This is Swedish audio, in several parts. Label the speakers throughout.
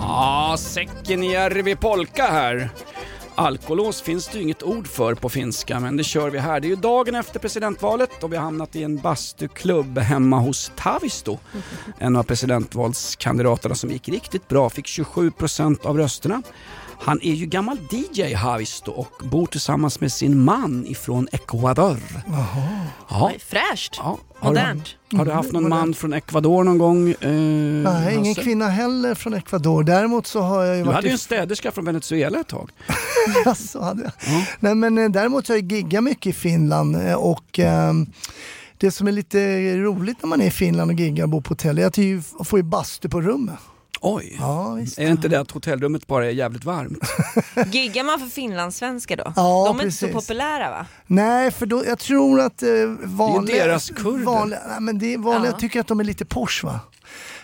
Speaker 1: Ja, säcken i Järvi polka här. Alkolås finns det ju inget ord för på finska, men det kör vi här. Det är ju dagen efter presidentvalet och vi har hamnat i en bastuklubb hemma hos Tavisto. En av presidentvalskandidaterna som gick riktigt bra, fick 27% av rösterna. Han är ju gammal DJ Haavisto och bor tillsammans med sin man ifrån Ecuador. Ja,
Speaker 2: Oj, fräscht.
Speaker 1: ja. Har, du,
Speaker 2: Modernt.
Speaker 1: har du haft någon man från Ecuador någon gång? Eh,
Speaker 3: Mm, Nej, ingen
Speaker 1: Hasse?
Speaker 3: kvinna heller från Ecuador. Däremot så har jag ju
Speaker 1: alltså. Du
Speaker 3: varit
Speaker 1: hade ju
Speaker 3: i...
Speaker 1: en städerska från Venezuela ett tag.
Speaker 3: så hade jag. Nej, men eh, däremot så har jag giggat mycket i Finland eh, och ehm, det som är lite roligt när man är i Finland och giggar och bor på hotell är att du får ju bastu på rummet. Mm.
Speaker 1: Oj.
Speaker 3: Ja, visst.
Speaker 1: Är det inte det att hotellrummet bara är jävligt varmt?
Speaker 2: Giggar man för finlandssvenskar då?
Speaker 3: Ja,
Speaker 2: De är inte så
Speaker 3: precis.
Speaker 2: populära va?
Speaker 3: Nej, för då, jag tror att eh, vanliga...
Speaker 1: deras kurder.
Speaker 3: Vanliga, nej, men det är vanliga
Speaker 2: Ja.
Speaker 3: tycker att de är lite Porsche va?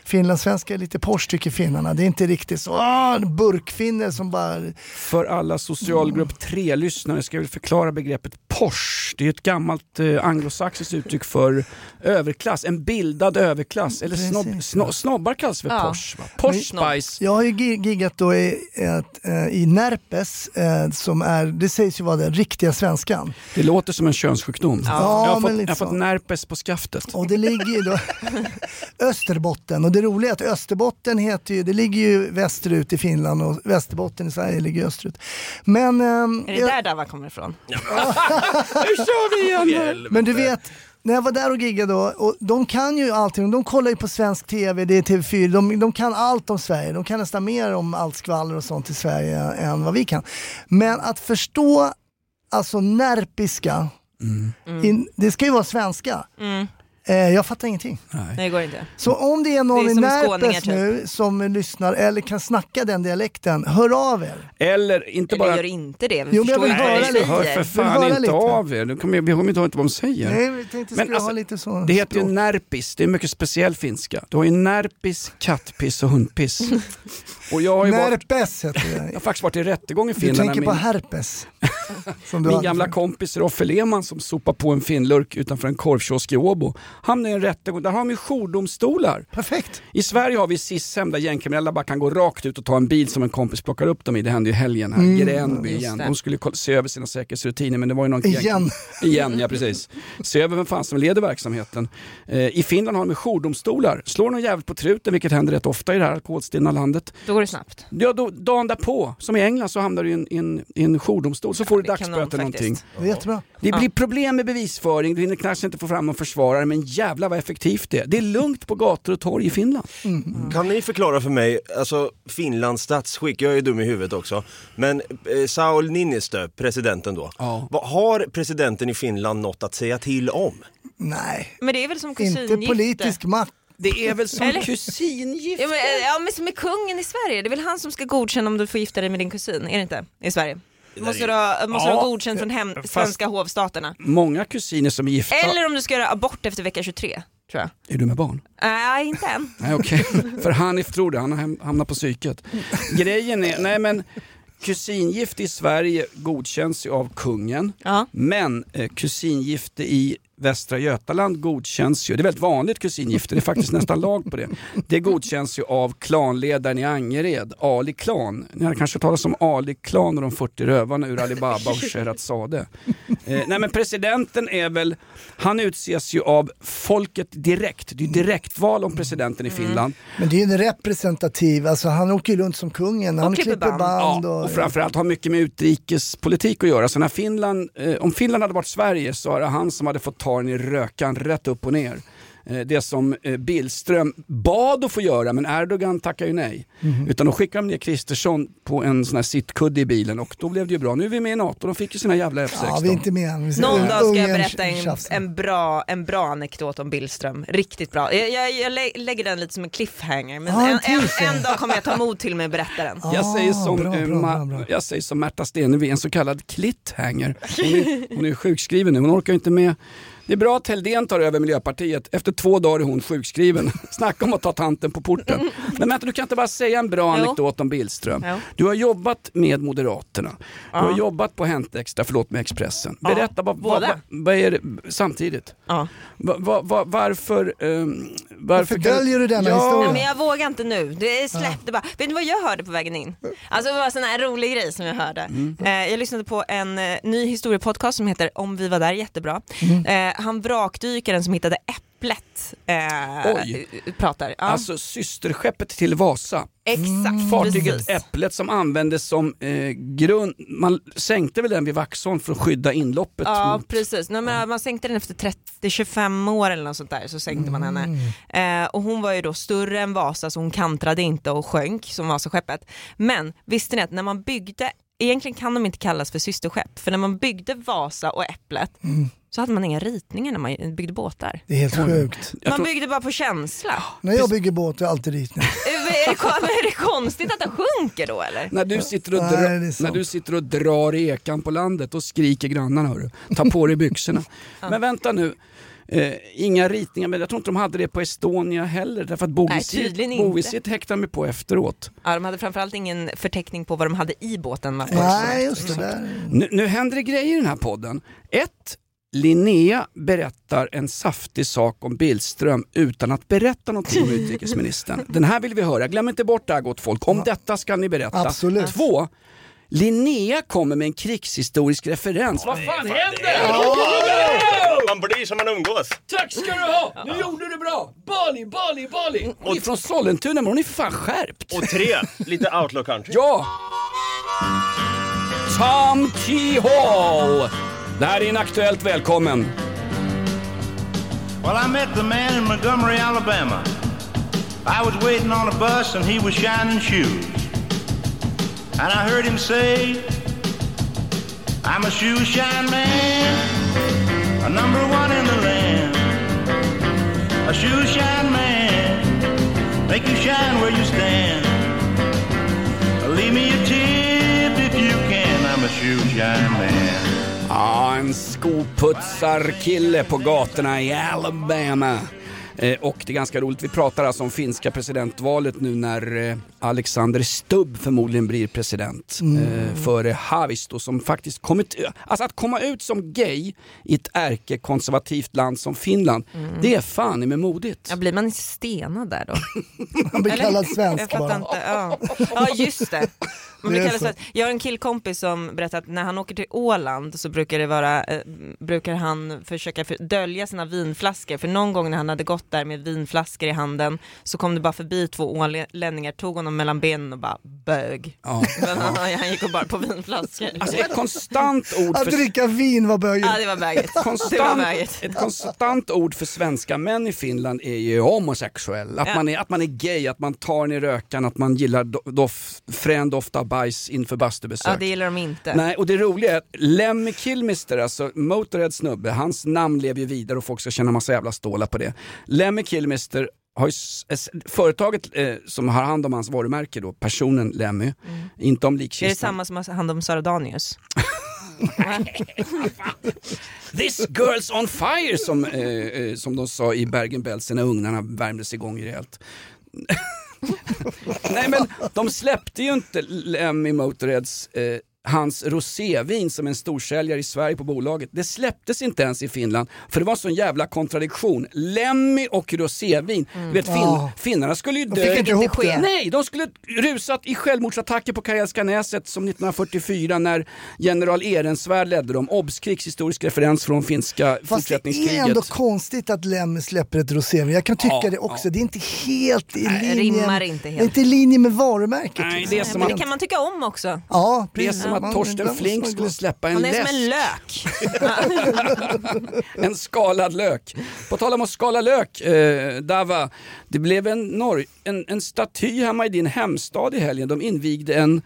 Speaker 3: Finlandssvenskar är lite Porsche tycker finnarna. Det är inte riktigt så, ah, burkfinner som bara
Speaker 1: För alla socialgrupp 3-lyssnare ska jag väl förklara begreppet Porsche. Det är ett gammalt eh, anglosaxiskt uttryck för överklass, en bildad överklass. Eller snobb,
Speaker 3: Precis.
Speaker 1: sno, snobbar kallas för
Speaker 2: Ja.
Speaker 1: Porsche? Va? Porsche
Speaker 2: Snobb.
Speaker 1: Spice.
Speaker 3: Jag har ju gi- giggat då i, ett, eh, i Närpes, eh, som är, det sägs ju vara den riktiga svenskan.
Speaker 1: Det låter som en könssjukdom.
Speaker 3: Ja,
Speaker 1: jag har
Speaker 3: men
Speaker 1: fått,
Speaker 3: lite
Speaker 1: jag har fått
Speaker 3: så.
Speaker 1: närpes på skaftet.
Speaker 3: Och det ligger ju då Österbotten. Och det roliga är att Österbotten heter ju, det ligger ju västerut i Finland och Västerbotten i Sverige ligger österut. Men, ehm,
Speaker 2: Är det
Speaker 3: jag-
Speaker 2: där Dava kommer ifrån?
Speaker 1: Nu kör vi igen!
Speaker 3: men du vet, när jag var där och giggade då, och de kan ju allting. De kollar ju på svensk TV, det är TV4, de, de kan allt om Sverige. De kan nästan mer om allt skvaller och sånt i Sverige än vad vi kan. Men att förstå alltså närpiska,
Speaker 2: Mm.
Speaker 3: in, det ska ju vara svenska. Eh, jag fattar ingenting.
Speaker 2: Nej det går inte.
Speaker 3: Så om det är någon
Speaker 2: Det är
Speaker 3: i
Speaker 2: som skåningar,
Speaker 3: Närpes
Speaker 2: typ.
Speaker 3: nu som lyssnar eller kan snacka den dialekten, hör av er.
Speaker 1: Eller inte
Speaker 2: Eller
Speaker 1: bara...
Speaker 2: gör inte det, vi
Speaker 3: Jo, men jag
Speaker 2: förstår
Speaker 3: vill
Speaker 2: ju vad
Speaker 3: höra
Speaker 2: du
Speaker 3: lite.
Speaker 1: Hör
Speaker 2: säger.
Speaker 1: för fan
Speaker 3: höra
Speaker 1: inte
Speaker 3: lite?
Speaker 1: av er. Nu kommer jag- Vi kommer inte ihåg vad de säger.
Speaker 3: Nej, vi tänkte
Speaker 1: Men
Speaker 3: skulle
Speaker 1: alltså,
Speaker 3: ha lite så.
Speaker 1: Det heter ju
Speaker 3: språk.
Speaker 1: närpis, det är mycket speciell finska. Du har ju närpis, kattpiss och hundpiss. Och jag har ju varit,
Speaker 3: Närpes heter
Speaker 1: jag
Speaker 3: det.
Speaker 1: har faktiskt varit i rättegång i
Speaker 3: Du
Speaker 1: Finland.
Speaker 3: tänker
Speaker 1: när
Speaker 3: på alltså.
Speaker 1: min,
Speaker 3: herpes. Som du
Speaker 1: min
Speaker 3: hade
Speaker 1: gamla
Speaker 3: förut.
Speaker 1: kompis Roffe Lehmann som sopar på en finlurk utanför en korvkiosk i Åbo. Hamnade i en rättegång, där har de ju jourdomstolar.
Speaker 3: Perfekt.
Speaker 1: I Sverige har vi SIS-hem där gängkriminella bara kan gå rakt ut och ta en bil som en kompis plockar upp dem i. Det hände ju i helgen här,
Speaker 3: Mm.
Speaker 1: Gränby
Speaker 2: just
Speaker 1: igen.
Speaker 2: det.
Speaker 1: De skulle koll- se över sina säkerhetsrutiner men det var ju någon gäng-
Speaker 3: Igen.
Speaker 1: Igen, ja precis. Se över vem fan som leder verksamheten. Eh, I Finland har de jourdomstolar. Slår någon jävligt på truten, vilket händer rätt ofta i det här alkoholstinna landet.
Speaker 2: Då går det snabbt.
Speaker 1: Ja, då, dagen därpå, som i England, så hamnar du i en, i en, i en jourdomstol. Så får du
Speaker 2: det kan de
Speaker 1: dagsböter eller någonting.
Speaker 2: faktiskt.
Speaker 3: Det är jättebra.
Speaker 1: Det blir problem med bevisföring, du hinner kanske inte få fram någon försvarare, men jävla vad effektivt det är. Det är lugnt på gator och torg i Finland.
Speaker 4: Mm. Kan ni förklara för mig, alltså Finlands statsskick, jag är ju dum i huvudet också, men eh, Saul Niinistö, presidenten då,
Speaker 1: Ja.
Speaker 4: vad har presidenten i Finland något att säga till om?
Speaker 3: Nej,
Speaker 2: Men det är väl som kusingifte?
Speaker 3: inte politisk makt.
Speaker 1: Det är väl som
Speaker 2: Eller-
Speaker 1: kusingifte?
Speaker 2: Ja men, eh, ja men som är kungen i Sverige, det är väl han som ska godkänna om du får gifta dig med din kusin, är det inte? I Sverige. Måste du ha, eh, måste du
Speaker 1: Ja,
Speaker 2: ha godkänt från hem, svenska hovstaterna.
Speaker 1: Många kusiner som är gifta.
Speaker 2: Eller om du ska göra abort efter vecka 23, tror jag.
Speaker 1: Är du med barn?
Speaker 2: Nej, inte än.
Speaker 1: Nej okej, för Hanif tror det, han har hem- hamnat på psyket. Grejen är, nej men kusingifte i Sverige godkänns ju av kungen.
Speaker 2: Ja.
Speaker 1: Men eh, kusingifte i Västra Götaland godkänns ju, det är väldigt vanligt kusingifte, det är faktiskt nästan lag på det. Det godkänns ju av klanledaren i Angered, Ali Klan. Ni har kanske hört talas om Ali Klan och de 40 rövarna ur Alibaba och Sherazade. Eh, nej men presidenten är väl, han utses ju av folket direkt. Det är ju direktval om presidenten i Finland.
Speaker 3: Men det är ju en representativ, alltså han åker ju runt som kungen. Han
Speaker 2: klipper
Speaker 3: klipper
Speaker 2: band.
Speaker 3: band.
Speaker 1: Ja,
Speaker 3: och,
Speaker 1: och framförallt har mycket med utrikespolitik att göra. Så när Finland, eh, om Finland hade varit Sverige så är det han som hade fått ta den i rökan rätt upp och ner. eh, det som eh, Billström bad att få göra men Erdogan tackar ju nej.
Speaker 3: Mhm.
Speaker 1: Utan då skickade de ner Kristersson på en sån här sittkudde i bilen och då blev det ju bra. Nu är vi med i NATO, de fick ju sina jävla F16.
Speaker 3: Ja, vi är inte med än. Vi ser
Speaker 2: Någon dag ska jag
Speaker 3: Ungern
Speaker 2: berätta en,
Speaker 3: tjafsar.
Speaker 2: en, bra, en bra anekdot om Billström. Riktigt bra. Jag, jag, jag lä- lägger den lite som en cliffhanger. Men
Speaker 3: Ja,
Speaker 2: en,
Speaker 3: en
Speaker 2: en,
Speaker 3: cliffhanger.
Speaker 2: en dag kommer jag ta mod till mig och berätta den.
Speaker 1: Jag
Speaker 3: Ah,
Speaker 1: säger, som,
Speaker 3: bra,
Speaker 1: eh,
Speaker 3: bra,
Speaker 1: Ma-
Speaker 3: bra, bra.
Speaker 1: jag säger som Märta Stenevi, en så kallad clithanger. Hon är, hon är sjukskriven nu, hon orkar inte med. Det är bra att Helldén tar över Miljöpartiet. Efter två dagar är hon sjukskriven. Snacka om att ta tanten på porten. Men vänta, du kan inte bara säga en bra
Speaker 2: Jo.
Speaker 1: anekdot om Billström.
Speaker 2: Jo.
Speaker 1: Du har jobbat med Moderaterna. Du har jobbat på Hänt Extra, förlåt, med Expressen. Berätta, vad, vad,
Speaker 2: Båda.
Speaker 1: vad, vad är det samtidigt?
Speaker 2: Ja.
Speaker 1: Va, va, va, varför... ehm, varför, kan
Speaker 3: döljer du denna historia?
Speaker 2: Nej, men jag vågar inte nu. Det är- Släpp det bara. Vet ni vad jag hörde på vägen in? Alltså det var en sån här rolig grej som jag hörde. Eh, jag lyssnade på en eh, ny historiepodcast som heter Om vi var där, jättebra. Eh, han vrakdykaren som hittade äpplet eh,
Speaker 1: Oj.
Speaker 2: pratar. Ja.
Speaker 1: Alltså systerskeppet till Vasa.
Speaker 2: Exakt,
Speaker 1: Fartyget
Speaker 2: Mm, precis.
Speaker 1: Äpplet som användes som eh, grund, man sänkte väl den vid Vaxholm för att skydda inloppet.
Speaker 2: Ja
Speaker 1: mot-
Speaker 2: precis, Nej, men man sänkte den efter 30-25 år eller något sånt där så sänkte man henne. Eh, och hon var ju då större än Vasa så hon kantrade inte och sjönk som Vasaskeppet. Men visste ni att när man byggde, egentligen kan de inte kallas för systerskepp, för när man byggde Vasa och Äpplet så hade man inga ritningar när man byggde båtar.
Speaker 3: Det är helt sjukt.
Speaker 1: Jag
Speaker 2: man
Speaker 1: tror-
Speaker 2: byggde bara på känsla.
Speaker 3: När jag bygger båt är jag alltid dit nu.
Speaker 2: är, det, kon- är det konstigt att den sjunker då eller?
Speaker 1: När du, sitter och
Speaker 3: Nej,
Speaker 1: dra,
Speaker 3: det är sant.
Speaker 1: när du sitter och drar i ekan på landet, då skriker grannarna. Hörru. Ta på dig byxorna. Men vänta nu, eh, inga ritningar, men jag tror inte de hade det på Estonia heller. Därför att
Speaker 2: tydligen
Speaker 1: Bovisit
Speaker 2: inte.
Speaker 1: Bovisit häktade mig på efteråt.
Speaker 2: Ja, de hade framförallt ingen förteckning på vad de hade i båten. va?
Speaker 3: Nej, just det. Där.
Speaker 1: Nu, nu händer det grejer i den här podden. Ett, Linnea berättar en saftig sak om Billström utan att berätta någonting om utrikesministern. Den här vill vi höra. Glöm inte bort det här gott folk. Om detta ska ni berätta.
Speaker 3: Absolut.
Speaker 1: Två, Linnea kommer med en krigshistorisk referens. Vad fan händer?
Speaker 4: Man blir som man umgås.
Speaker 1: Tack ska du ha! Nu gjorde du bra! Bali, Bali, Bali! Hon är från Sollentuna men hon är för fan skärpt.
Speaker 4: Och tre, lite outlaw country.
Speaker 1: Ja! Tom Keyhall! Det här är Inaktuellt välkommen.
Speaker 5: Well, I met the man in Montgomery, Alabama. I was waiting on a bus and he was shining shoes. And I heard him say, I'm a shoe shine man, a number one in the land. A shoe shine man, make you shine where you stand. Leave me a tip if you can, I'm a shoe shine man.
Speaker 1: Ja, en skoputsarkille på gatorna i Alabama. Eh, och det är ganska roligt, vi pratar alltså om finska presidentvalet nu när eh, Alexander Stubb förmodligen blir president. Eh, före Haavisto som faktiskt kommit Alltså att komma ut som gay i ett ärkekonservativt land som Finland, det är fan i mig modigt.
Speaker 2: Ja, blir man stenad där då?
Speaker 3: Man blir
Speaker 2: Eller?
Speaker 3: kallad
Speaker 2: Jag
Speaker 3: svensk
Speaker 2: fattar
Speaker 3: bara.
Speaker 2: inte. Ja. ja just det. Man blir
Speaker 3: Det är
Speaker 2: kallad
Speaker 3: så.
Speaker 2: svensk. Jag har en killkompis som berättar att när han åker till Åland så brukar, det vara, eh, brukar han försöka för, dölja sina vinflaskor för någon gång när han hade gått där med vinflaskor i handen så kom det bara förbi två ålänningar, tog honom mellan benen och bara bög.
Speaker 1: Ja.
Speaker 2: Men han, han gick och bar på vinflaskor.
Speaker 1: Alltså ett konstant ord
Speaker 3: Att
Speaker 1: för
Speaker 3: dricka vin var bögen.
Speaker 2: Ja det var bögigt. Det var
Speaker 1: Konstant,
Speaker 2: bögigt.
Speaker 1: ett konstant ord för svenska män i Finland är ju homosexuell. Att,
Speaker 2: Ja.
Speaker 1: man, är, att man är gay, att man tar ner rökan, att man gillar do, dof, frän doft av bajs inför
Speaker 2: Ja
Speaker 1: bastubesök.
Speaker 2: det gillar de inte.
Speaker 1: Nej, och det roliga är att Lemmy Kilmister, alltså Motörheads snubbe, hans namn lever ju vidare och folk ska känna massa jävla stålar på det. Lemmy Kilmister har ju, s- s- företaget eh, som har hand om hans varumärke då, personen Lemmy, inte om
Speaker 2: Mm. Är det
Speaker 1: likkistan.
Speaker 2: samma som har hand om Sara Danius?
Speaker 1: This girl's on fire som, eh, eh, som de sa i Bergen-Belsen när ugnarna värmdes igång rejält. Nej men de släppte ju inte Lemmy Motörheads eh, hans rosévin som en storsäljare i Sverige på bolaget. Det släpptes inte ens i Finland för det var en sån jävla kontradiktion. Lemmy och rosévin. Du vet fin-
Speaker 3: Ah.
Speaker 1: finnarna skulle ju
Speaker 3: De fick
Speaker 1: dö.
Speaker 3: inte ihop
Speaker 2: ske.
Speaker 3: det.
Speaker 1: Nej, de skulle rusat i självmordsattacker på Karelska näset som 1944 när general Ehrensvärd ledde dem. Obs! krigshistorisk referens från finska
Speaker 3: Fast det
Speaker 1: fortsättningskriget.
Speaker 3: är ändå konstigt att Lemmy släpper ett rosévin. Jag kan tycka
Speaker 1: Ja,
Speaker 3: det också. Det är inte helt i
Speaker 2: Nej,
Speaker 3: linje.
Speaker 2: rimmar inte helt.
Speaker 3: Det är inte i linje med varumärket.
Speaker 1: Nej,
Speaker 3: liksom.
Speaker 1: det är som
Speaker 2: Men
Speaker 1: att...
Speaker 2: det kan man tycka om också.
Speaker 3: Ja,
Speaker 1: Det är
Speaker 3: precis.
Speaker 1: som som att Torsten
Speaker 3: Den
Speaker 1: Flink
Speaker 3: måste man
Speaker 1: skulle
Speaker 3: gå.
Speaker 1: släppa en
Speaker 6: Han är som
Speaker 1: läsk,
Speaker 6: en lök.
Speaker 1: en skalad lök. På tal om att skala lök, eh, Dava, det blev en, norr, en, en staty hemma i din hemstad i helgen. De invigde en,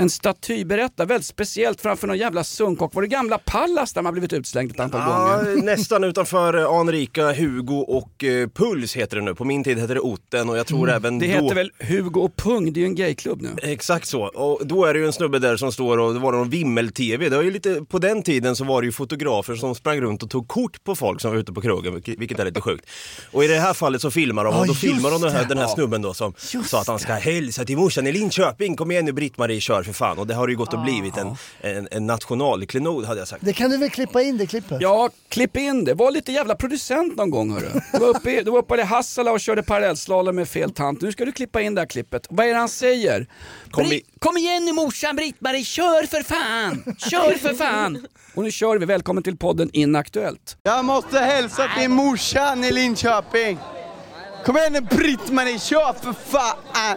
Speaker 1: en staty, berätta, väldigt speciellt framför någon jävla sunkkock. Var det gamla Pallas där man blivit utslängd ett antal
Speaker 4: Ja,
Speaker 1: gånger?
Speaker 4: nästan utanför eh, anrika Hugo och eh, Puls heter det nu. På min tid hette det Otten och jag tror även
Speaker 1: Mm. Det
Speaker 4: då...
Speaker 1: heter väl Hugo och Pung, det är ju en gayklubb nu.
Speaker 4: Exakt så. Och då är det ju en snubbe där som står och det var någon vimmel-tv. Det var ju lite, på den tiden så var det ju fotografer som sprang runt och tog kort på folk som var ute på krogen, vilket- vilket är lite sjukt. Och i det här fallet så filmar de
Speaker 3: Ja,
Speaker 4: och då
Speaker 3: just
Speaker 4: filmar de den här,
Speaker 3: det.
Speaker 4: den här snubben då som sa att han ska hälsa till morsan i Linköping. Kom igen nu Britt-Marie, kör för fan. Och det har ju gått och blivit en, en, en nationalklenod hade jag sagt.
Speaker 3: Ah. Det kan du väl klippa in det klippet?
Speaker 1: Ja, klipp in det. Var lite jävla producent någon gång hörru. Du var uppe i, du var uppe i Hassala och körde parallellslalom med fel tant. Nu ska du klippa in det här klippet. Vad är det han säger?
Speaker 4: Kom
Speaker 1: Brit-
Speaker 4: i-
Speaker 1: Kom igen nu morsan Britt-Marie, kör för fan! Kör för fan! Och nu kör vi. Välkommen till podden Inaktuellt.
Speaker 5: Jag måste hälsa till morsan i Linköping. Kom igen nu Britt-Marie, kör för fan!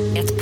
Speaker 7: Ett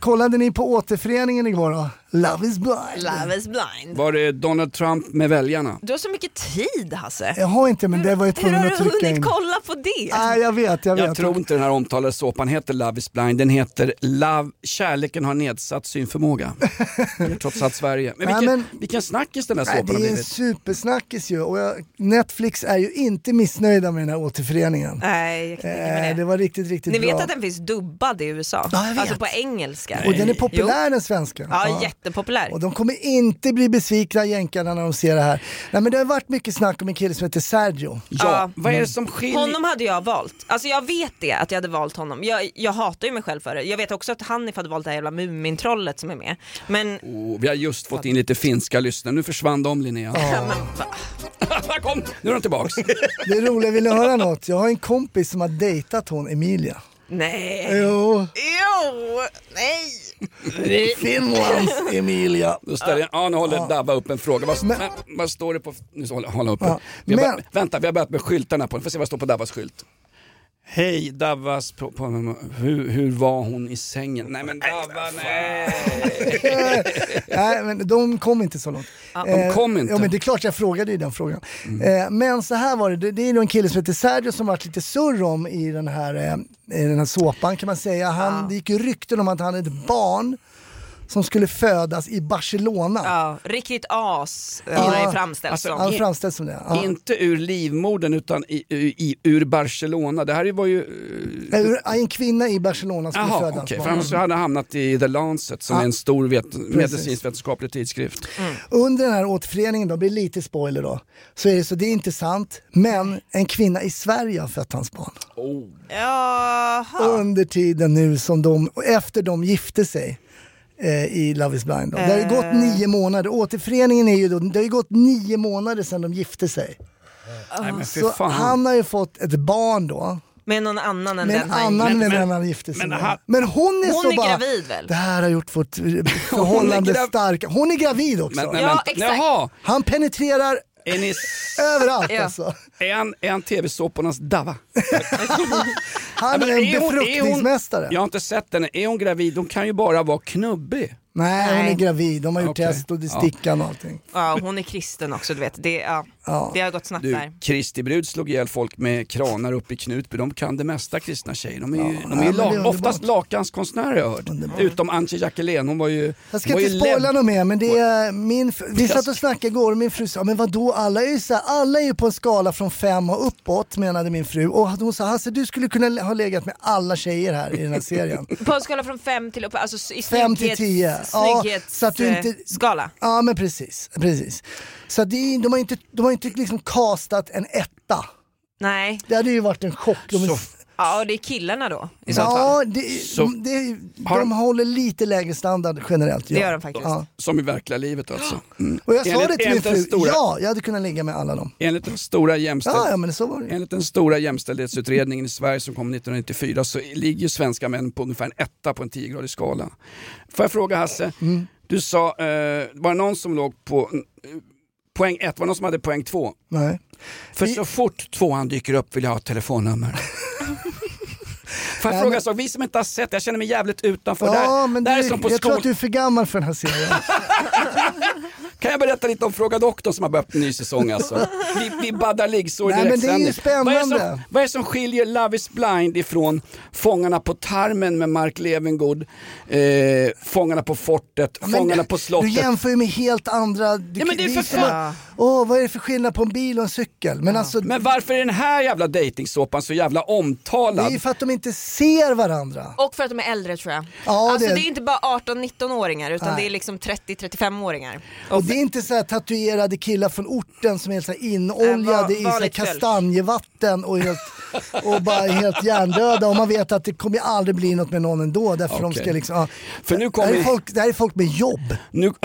Speaker 3: Kollade ni på återföreningen igår då? Love is blind.
Speaker 6: Love is blind.
Speaker 1: Var det Donald Trump med väljarna?
Speaker 6: Du har så mycket tid Hasse.
Speaker 3: Jag har inte men det var ju
Speaker 6: Hur
Speaker 3: tvungen
Speaker 6: har
Speaker 3: att
Speaker 6: du
Speaker 3: trycka
Speaker 6: hunnit
Speaker 3: in. Ah.
Speaker 6: kolla på det?
Speaker 3: Nej jag vet, jag vet.
Speaker 1: Jag tror inte den här omtalade såpan heter Love is blind, den heter Love, kärleken har nedsatt synförmåga. Det är Trots allt Sverige. Men
Speaker 3: Nej,
Speaker 1: vilken,
Speaker 3: men-
Speaker 1: vilken snackis den här
Speaker 3: Nej,
Speaker 1: såpan
Speaker 3: det
Speaker 1: har
Speaker 3: är en
Speaker 1: blivit.
Speaker 3: supersnackis ju och jag, Netflix är ju inte missnöjda med den här återföreningen.
Speaker 6: Nej, jag kan tänka mig
Speaker 3: Eh, det var riktigt, riktigt
Speaker 6: Ni
Speaker 3: bra.
Speaker 6: vet att den finns dubbad i USA?
Speaker 3: Ja, jag vet.
Speaker 6: Alltså på engelska.
Speaker 3: Och den är
Speaker 6: Jo.
Speaker 3: populär den svenska.
Speaker 6: Ja, jättepopulär.
Speaker 3: Och de kommer inte bli besvikna jänkarna när de ser det här. Nej men det har varit mycket snack om en kille som heter Sergio.
Speaker 1: Ja,
Speaker 6: Ja.
Speaker 1: vad är det som skiljer?
Speaker 6: Honom hade jag valt. Alltså jag vet det, att jag hade valt honom. Jag, jag hatar ju mig själv för det. Jag vet också att Hanif hade valt det här jävla Mumintrollet som är med. Men,
Speaker 3: Eh.
Speaker 1: Oh, vi har just fått in lite finska lyssnare, nu försvann de Linnea. Kom, nu är de tillbaks.
Speaker 3: Det är roligt, vill ni höra något? Jag har en kompis som har dejtat hon Emilia.
Speaker 6: nej.
Speaker 3: Jo,
Speaker 6: Jo, nej.
Speaker 3: Finlands Emilia.
Speaker 1: Då ställer jag, ja, nu håller Dabba upp en fråga. Vad, men, vad står det på... Nu håller hålla upp.
Speaker 3: Ja,
Speaker 1: vi har
Speaker 3: men-
Speaker 1: bör, vänta, vi har börjat med skyltarna på den. Får se vad det står på Dabbas skylt. Hej Davvas, på, på, hur, hur var hon i sängen? Nej men Dabba, nej.
Speaker 3: Eh, Nej, men de kom inte så långt. Eh,
Speaker 1: de kom inte. Mm.
Speaker 3: Ja, men det är klart jag frågade ju den frågan. Eh, men så här var det, det, det är ju en kille som heter Sergio som varit lite surr om i den här, eh, i den här såpan kan man säga. Han, Det gick ju rykten om att han är ett barn som skulle födas i Barcelona.
Speaker 2: Ja, riktigt as eh,
Speaker 3: Ja. alltså,
Speaker 2: har det framställts som.
Speaker 3: han framställs som det. Ja.
Speaker 1: Inte ur livmodern utan i, i, i, ur Barcelona. Det här var ju... eh,
Speaker 3: Nej, ur- En kvinna i Barcelona skulle
Speaker 1: Jaha,
Speaker 3: födas.
Speaker 1: okej. För annars så hade han hamnat i The Lancet som
Speaker 3: Ja.
Speaker 1: är en stor vet-
Speaker 3: Precis.
Speaker 1: medicinskvetenskaplig tidskrift.
Speaker 3: Under den här återföreningen då, blir det lite spoiler då, så är det så det är intressant, men en kvinna i Sverige har fött hans barn.
Speaker 1: Oh.
Speaker 3: Under tiden nu som de, och efter de gifte sig eh, i Love is blind. Då. Det har ju gått
Speaker 2: Eh.
Speaker 3: nio månader, återföreningen är ju då, det har ju gått nio månader sedan de gifte sig.
Speaker 1: Nej, men fy
Speaker 3: Så
Speaker 1: fan.
Speaker 3: han har ju fått ett barn då.
Speaker 2: Med någon annan än
Speaker 3: Med
Speaker 2: den
Speaker 3: en
Speaker 2: han
Speaker 3: annan
Speaker 2: gifte
Speaker 3: än
Speaker 2: sig
Speaker 3: den
Speaker 2: med.
Speaker 3: han gifte sig
Speaker 2: men
Speaker 3: med.
Speaker 2: han-
Speaker 3: Men hon är
Speaker 2: Hon
Speaker 3: så
Speaker 2: är
Speaker 3: bara,
Speaker 2: gravid väl?
Speaker 3: det här har gjort vårt förhållande
Speaker 1: Hon är grav-
Speaker 3: starka. Hon är gravid också.
Speaker 1: Men, nej,
Speaker 2: Ja,
Speaker 1: vänta.
Speaker 2: exakt.
Speaker 1: Jaha,
Speaker 3: Han penetrerar
Speaker 1: är, ni,
Speaker 3: överallt
Speaker 2: Ja.
Speaker 3: alltså.
Speaker 1: är han, är han tv-såpornas Dava?
Speaker 3: Han
Speaker 1: Ja,
Speaker 3: är
Speaker 1: men
Speaker 3: en
Speaker 1: hon-
Speaker 3: befruktningsmästare.
Speaker 1: Hon, jag har inte sett henne. Är hon gravid? Hon kan ju bara vara knubbig.
Speaker 3: Nej, hon
Speaker 2: Nej.
Speaker 3: är gravid. De har gjort
Speaker 1: Okej.
Speaker 3: test och det
Speaker 1: Ja.
Speaker 3: stickan och allting.
Speaker 2: Ja, hon är kristen också, du vet. Det, ja,
Speaker 3: Ja.
Speaker 2: det har gått snabbt
Speaker 1: Du,
Speaker 2: där.
Speaker 1: Kristi brud slog ihjäl folk med kranar uppe i Knutby. De kan det mesta kristna tjejer. De är ju, de är
Speaker 3: ja,
Speaker 1: ju
Speaker 3: men det är
Speaker 1: la,
Speaker 3: underbart.
Speaker 1: oftast lakanskonstnärer har jag hört. Utom Antje Jackelén, hon var ju...
Speaker 3: Jag ska
Speaker 1: hon var
Speaker 3: inte
Speaker 1: ju
Speaker 3: spoila
Speaker 1: lebb.
Speaker 3: något mer men det är min... fr- Vi satt och snackade igår och min fru sa, men vadå alla är ju så här, alla är ju på en skala från fem och uppåt menade min fru. Och hon sa, Hasse du skulle kunna le- ha legat med alla tjejer här i den här serien.
Speaker 2: På en skala från fem till upp, alltså i
Speaker 3: Fem till tio. Ja, så att du inte-
Speaker 2: snygghetsskala.
Speaker 3: ja men precis, precis. Så att det är, de har ju inte, de har ju inte liksom castat en etta.
Speaker 2: Nej,
Speaker 3: Det hade ju varit en chock. De,
Speaker 1: Så-
Speaker 2: ja, och det är killarna då i så fall.
Speaker 3: ja, det,
Speaker 1: Så-
Speaker 3: det,
Speaker 1: Har-
Speaker 3: de håller lite lägre standard generellt. Ja.
Speaker 2: Det gör de faktiskt.
Speaker 3: Ja.
Speaker 1: Som i verkliga livet alltså. Mm.
Speaker 3: Och jag sa
Speaker 1: Enligt-
Speaker 3: det till min
Speaker 1: enligt den
Speaker 3: fru,
Speaker 1: stora-
Speaker 3: ja jag hade kunnat ligga med alla dem.
Speaker 1: Enligt den stora jämställd...
Speaker 3: Ja, ja men så var det.
Speaker 1: Enligt den stora jämställdhetsutredningen i Sverige som kom 1994 så ligger ju svenska män på ungefär en etta på en 10-gradig skala. Får jag fråga Hasse,
Speaker 3: Mm.
Speaker 1: du sa, eh, var det någon som låg på eh, poäng ett, var det någon som hade poäng två?
Speaker 3: Nej.
Speaker 1: För så fort tvåan dyker upp vill jag ha ett telefonnummer. Får jag
Speaker 3: Nej,
Speaker 1: fråga
Speaker 3: men-
Speaker 1: så, vi som inte har sett det, jag känner mig jävligt utanför. det
Speaker 3: Ja,
Speaker 1: här,
Speaker 3: men
Speaker 1: det här
Speaker 3: du,
Speaker 1: är som på
Speaker 3: jag tror
Speaker 1: skolan.
Speaker 3: att du är för gammal för den här serien.
Speaker 1: Kan jag berätta lite om Fråga doktorn som har börjat en ny säsong alltså? Vi, vi baddar liggsår i
Speaker 3: Nej, men det är ju
Speaker 1: direktsändning. Vad är, det som,
Speaker 3: spännande.
Speaker 1: vad är det som skiljer Love is blind ifrån Fångarna på tarmen med Mark Levengood, eh, Fångarna på fortet,
Speaker 3: Men
Speaker 1: Fångarna på
Speaker 3: du
Speaker 1: slottet?
Speaker 3: jämför ju med helt andra... Du,
Speaker 1: Ja, men det är för
Speaker 3: som
Speaker 1: fan-
Speaker 3: att- Åh, vad är det för skillnad på en bil och en cykel? Men alltså,
Speaker 1: Men varför är den här jävla dejtingsåpan så jävla
Speaker 3: det
Speaker 1: omtalad?
Speaker 3: är ju för att de inte ser varandra.
Speaker 2: Och för att de är äldre tror jag.
Speaker 3: Ja,
Speaker 2: alltså det...
Speaker 3: det-
Speaker 2: är inte bara 18-19-åringar utan
Speaker 3: Nej.
Speaker 2: det är liksom 30-35-åringar.
Speaker 3: Och det är inte så här tatuerade killar från orten som är helt så här
Speaker 2: Äh, va-
Speaker 3: inoljade i så här
Speaker 2: vanligt folk.
Speaker 3: kastanjevatten och, helt, och bara helt hjärndöda. Och man vet att det kommer ju aldrig bli något med någon ändå. Därför de
Speaker 1: Okej.
Speaker 3: ska liksom, ja.
Speaker 1: För nu kommer-
Speaker 3: det, här är folk, det här är folk med jobb.
Speaker 1: Nu...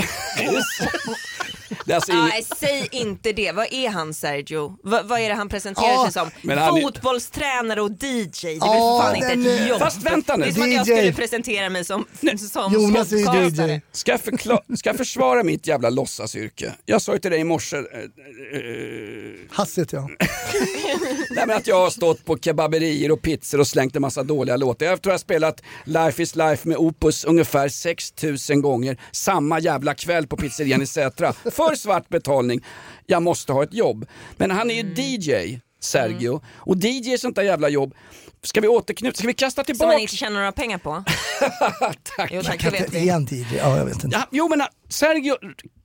Speaker 1: det är alltså ingen...
Speaker 2: Nej, säg inte det. Vad är han Sergio? Va, vad är det han presenterar
Speaker 3: Ja,
Speaker 2: sig som?
Speaker 1: men han är-
Speaker 2: Fotbollstränare och DJ. Det är väl
Speaker 3: Ja,
Speaker 2: för fan inte
Speaker 3: den
Speaker 2: ett
Speaker 3: är-
Speaker 2: jobb.
Speaker 1: Fast vänta nu.
Speaker 2: Det är som att jag
Speaker 3: DJ.
Speaker 2: skulle presentera mig som, som
Speaker 3: Jonas är ju
Speaker 2: podcastare.
Speaker 3: DJ.
Speaker 1: Ska jag, förkla- ska jag försvara mitt jävla låtsasyrke? Jag sa ju till dig i morse, eh, eh,
Speaker 3: Hasse heter jag.
Speaker 1: Nej men att jag har stått på kebaberier och pizzor och slängt en massa dåliga låtar. Jag tror jag har spelat Life is life med Opus ungefär 6000 gånger samma jävla kväll på pizzerian i Sätra. För svart betalning. Jag måste ha ett jobb. Men han är
Speaker 2: Mm.
Speaker 1: ju DJ, Sergio. Och DJ är sånt där jävla jobb. Ska vi återknyta, ska vi kasta
Speaker 2: Som
Speaker 1: tillbaka?
Speaker 2: man inte tjänar några pengar på.
Speaker 1: Tack.
Speaker 2: Jo tack, det
Speaker 3: Kan
Speaker 2: vet
Speaker 3: inte
Speaker 2: vi.
Speaker 3: är han DJ? Ja, jag vet inte.
Speaker 1: Ja, jo men äh, Sergio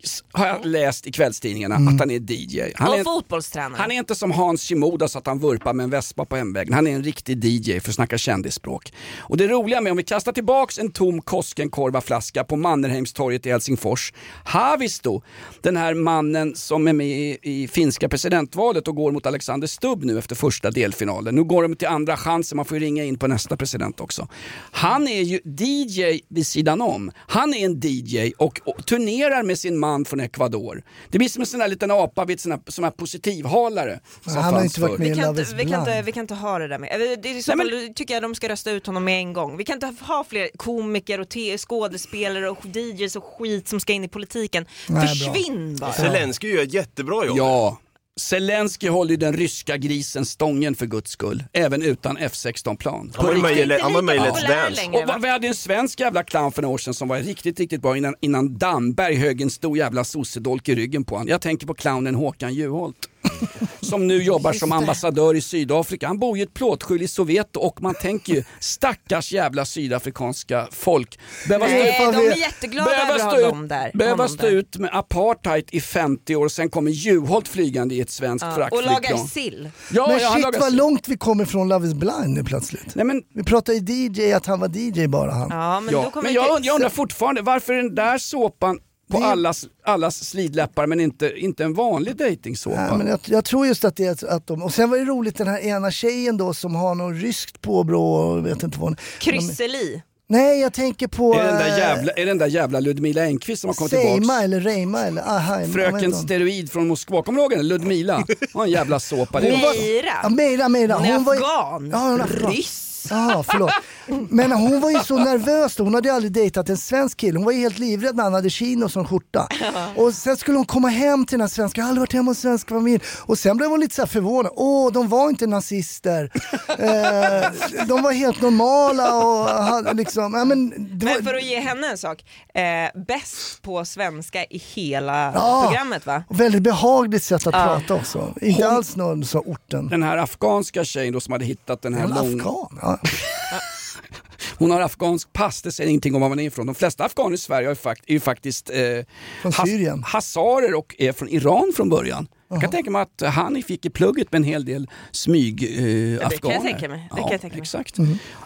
Speaker 1: s- har jag läst i kvällstidningarna att han är DJ. Han
Speaker 2: Mm. Och
Speaker 1: är-
Speaker 2: fotbollstränare.
Speaker 1: Han är inte som Hans Shimoda så att han vurpar med en vespa på hemvägen. Han är en riktig DJ för att snacka kändisspråk. Och det roliga med om vi kastar tillbaks en tom Koskenkorva-flaska på Mannerheimstorget i Helsingfors. Haavisto, den här mannen som är med i, i finska presidentvalet och går mot Alexander Stubb nu efter första delfinalen. Nu går de till andra chansen, man får ju ringa in på nästa president också. Han är ju DJ vid sidan om. Han är en DJ och, och turnerar med sin man från Ecuador. Det blir som en sån där liten apa vid såna, såna här positivhalare. Som
Speaker 3: han har
Speaker 1: fanns
Speaker 3: inte varit
Speaker 1: förr.
Speaker 3: med.
Speaker 2: Vi kan,
Speaker 3: Love
Speaker 2: inte,
Speaker 3: is
Speaker 2: vi, kan inte,
Speaker 3: blind.
Speaker 2: vi kan inte ha det där med. Eh, Det är i så
Speaker 1: Nej,
Speaker 2: fall,
Speaker 1: men-
Speaker 2: då tycker jag de ska rösta ut honom med en gång. Vi kan inte ha fler komiker och te- skådespelare och DJs och skit som ska in i politiken.
Speaker 3: Nej,
Speaker 2: Försvinn bara!
Speaker 4: Zelenskyj gör ett jättebra jobb.
Speaker 1: Ja. Zelensky håller ju den ryska grisen stången för guds skull, även utan F16-plan.
Speaker 4: Han var ju med i Le- han var med i
Speaker 2: Inte
Speaker 4: Let's
Speaker 2: populär
Speaker 4: Dance.
Speaker 2: längre,
Speaker 1: Och vad- vi hade en svensk jävla clown för några år sedan som var riktigt, riktigt bra innan, innan Damberg högg en stor jävla sossedolk i ryggen på honom. Jag tänker på clownen Håkan Juholt. som nu jobbar
Speaker 8: Just
Speaker 1: som
Speaker 8: det.
Speaker 1: ambassadör i Sydafrika. Han bor i ett plåtskjul i Soweto och man tänker ju stackars jävla sydafrikanska folk.
Speaker 2: Nej,
Speaker 1: stå-
Speaker 2: de är jätteglada
Speaker 1: behöva
Speaker 2: över att
Speaker 1: stå ut-
Speaker 2: ha dem där.
Speaker 1: Behöva
Speaker 2: Honom
Speaker 1: stå
Speaker 2: där.
Speaker 1: ut med apartheid i 50 år, sen kommer Juholt flygande i ett svenskt
Speaker 2: Ja, och
Speaker 1: fraktflygplan.
Speaker 2: lagar sill.
Speaker 1: Ja,
Speaker 3: men
Speaker 1: ja, han
Speaker 3: shit
Speaker 1: lagar
Speaker 3: vad
Speaker 1: sill.
Speaker 3: långt vi kommer från Love is blind nu plötsligt. Vi pratar ju DJ, att han var DJ bara han.
Speaker 1: Ja, men jag, und- jag undrar fortfarande varför är den där såpan på allas, allas slidläppar men inte, inte en vanlig
Speaker 3: Nej,
Speaker 1: dejtingsåpa?
Speaker 3: men jag, jag tror just att det är att de... Och sen var det roligt den här ena tjejen då som har någon ryskt påbrå och jag vet inte vad hon...
Speaker 2: Krysseli.
Speaker 3: Nej, jag tänker på...
Speaker 1: Är det den där
Speaker 3: eh,
Speaker 1: jävla, är det den där jävla Ludmila Engquist som har kommit
Speaker 3: Seima
Speaker 1: tillbaks?
Speaker 3: eller Reima eller Aheim. jag vet
Speaker 1: Fröken
Speaker 3: inte om.
Speaker 1: Steroid från Moskva, kommer du ihåg henne? Ludmila. Hon har en jävla såpa. Det är-
Speaker 3: Ja, Meira, Meira.
Speaker 1: Hon är
Speaker 3: var ju-
Speaker 1: afghan.
Speaker 3: Ja, hon är afghan. Ryss. Ja, förlåt. Men hon var ju så nervös då. Hon hade ju aldrig dejtat en svensk kille. Hon var ju helt livrädd när han hade chino som skjorta. Och sen skulle hon komma hem till den här svenska. Jag har aldrig varit hemma hos en svensk familj. Och sen blev hon lite så här förvånad. Åh, de var inte nazister. eh, de var helt normala och hade liksom... Ja, men det var...
Speaker 2: Men för att ge henne en sak, eh, bäst på svenska i hela
Speaker 3: Ja.
Speaker 2: programmet va?
Speaker 3: Och Väldigt behagligt sätt att
Speaker 2: Ja.
Speaker 3: prata också. Inte
Speaker 1: Hon-
Speaker 3: alls någon så orten.
Speaker 1: Den här afghanska tjejen då som hade hittat den här
Speaker 3: Hon är
Speaker 1: lång...
Speaker 3: afghan,
Speaker 1: Hon har afghansk pass, det säger ingenting om var man är ifrån. De flesta afghaner i Sverige är ju, fakt- är ju faktiskt eh, has- hasarer och är från Iran från början. Jag kan tänka mig att han fick i plugget med en hel del smyg-afghaner.
Speaker 2: Det kan jag tänka mig. Det kan jag tänka mig.
Speaker 1: Exakt.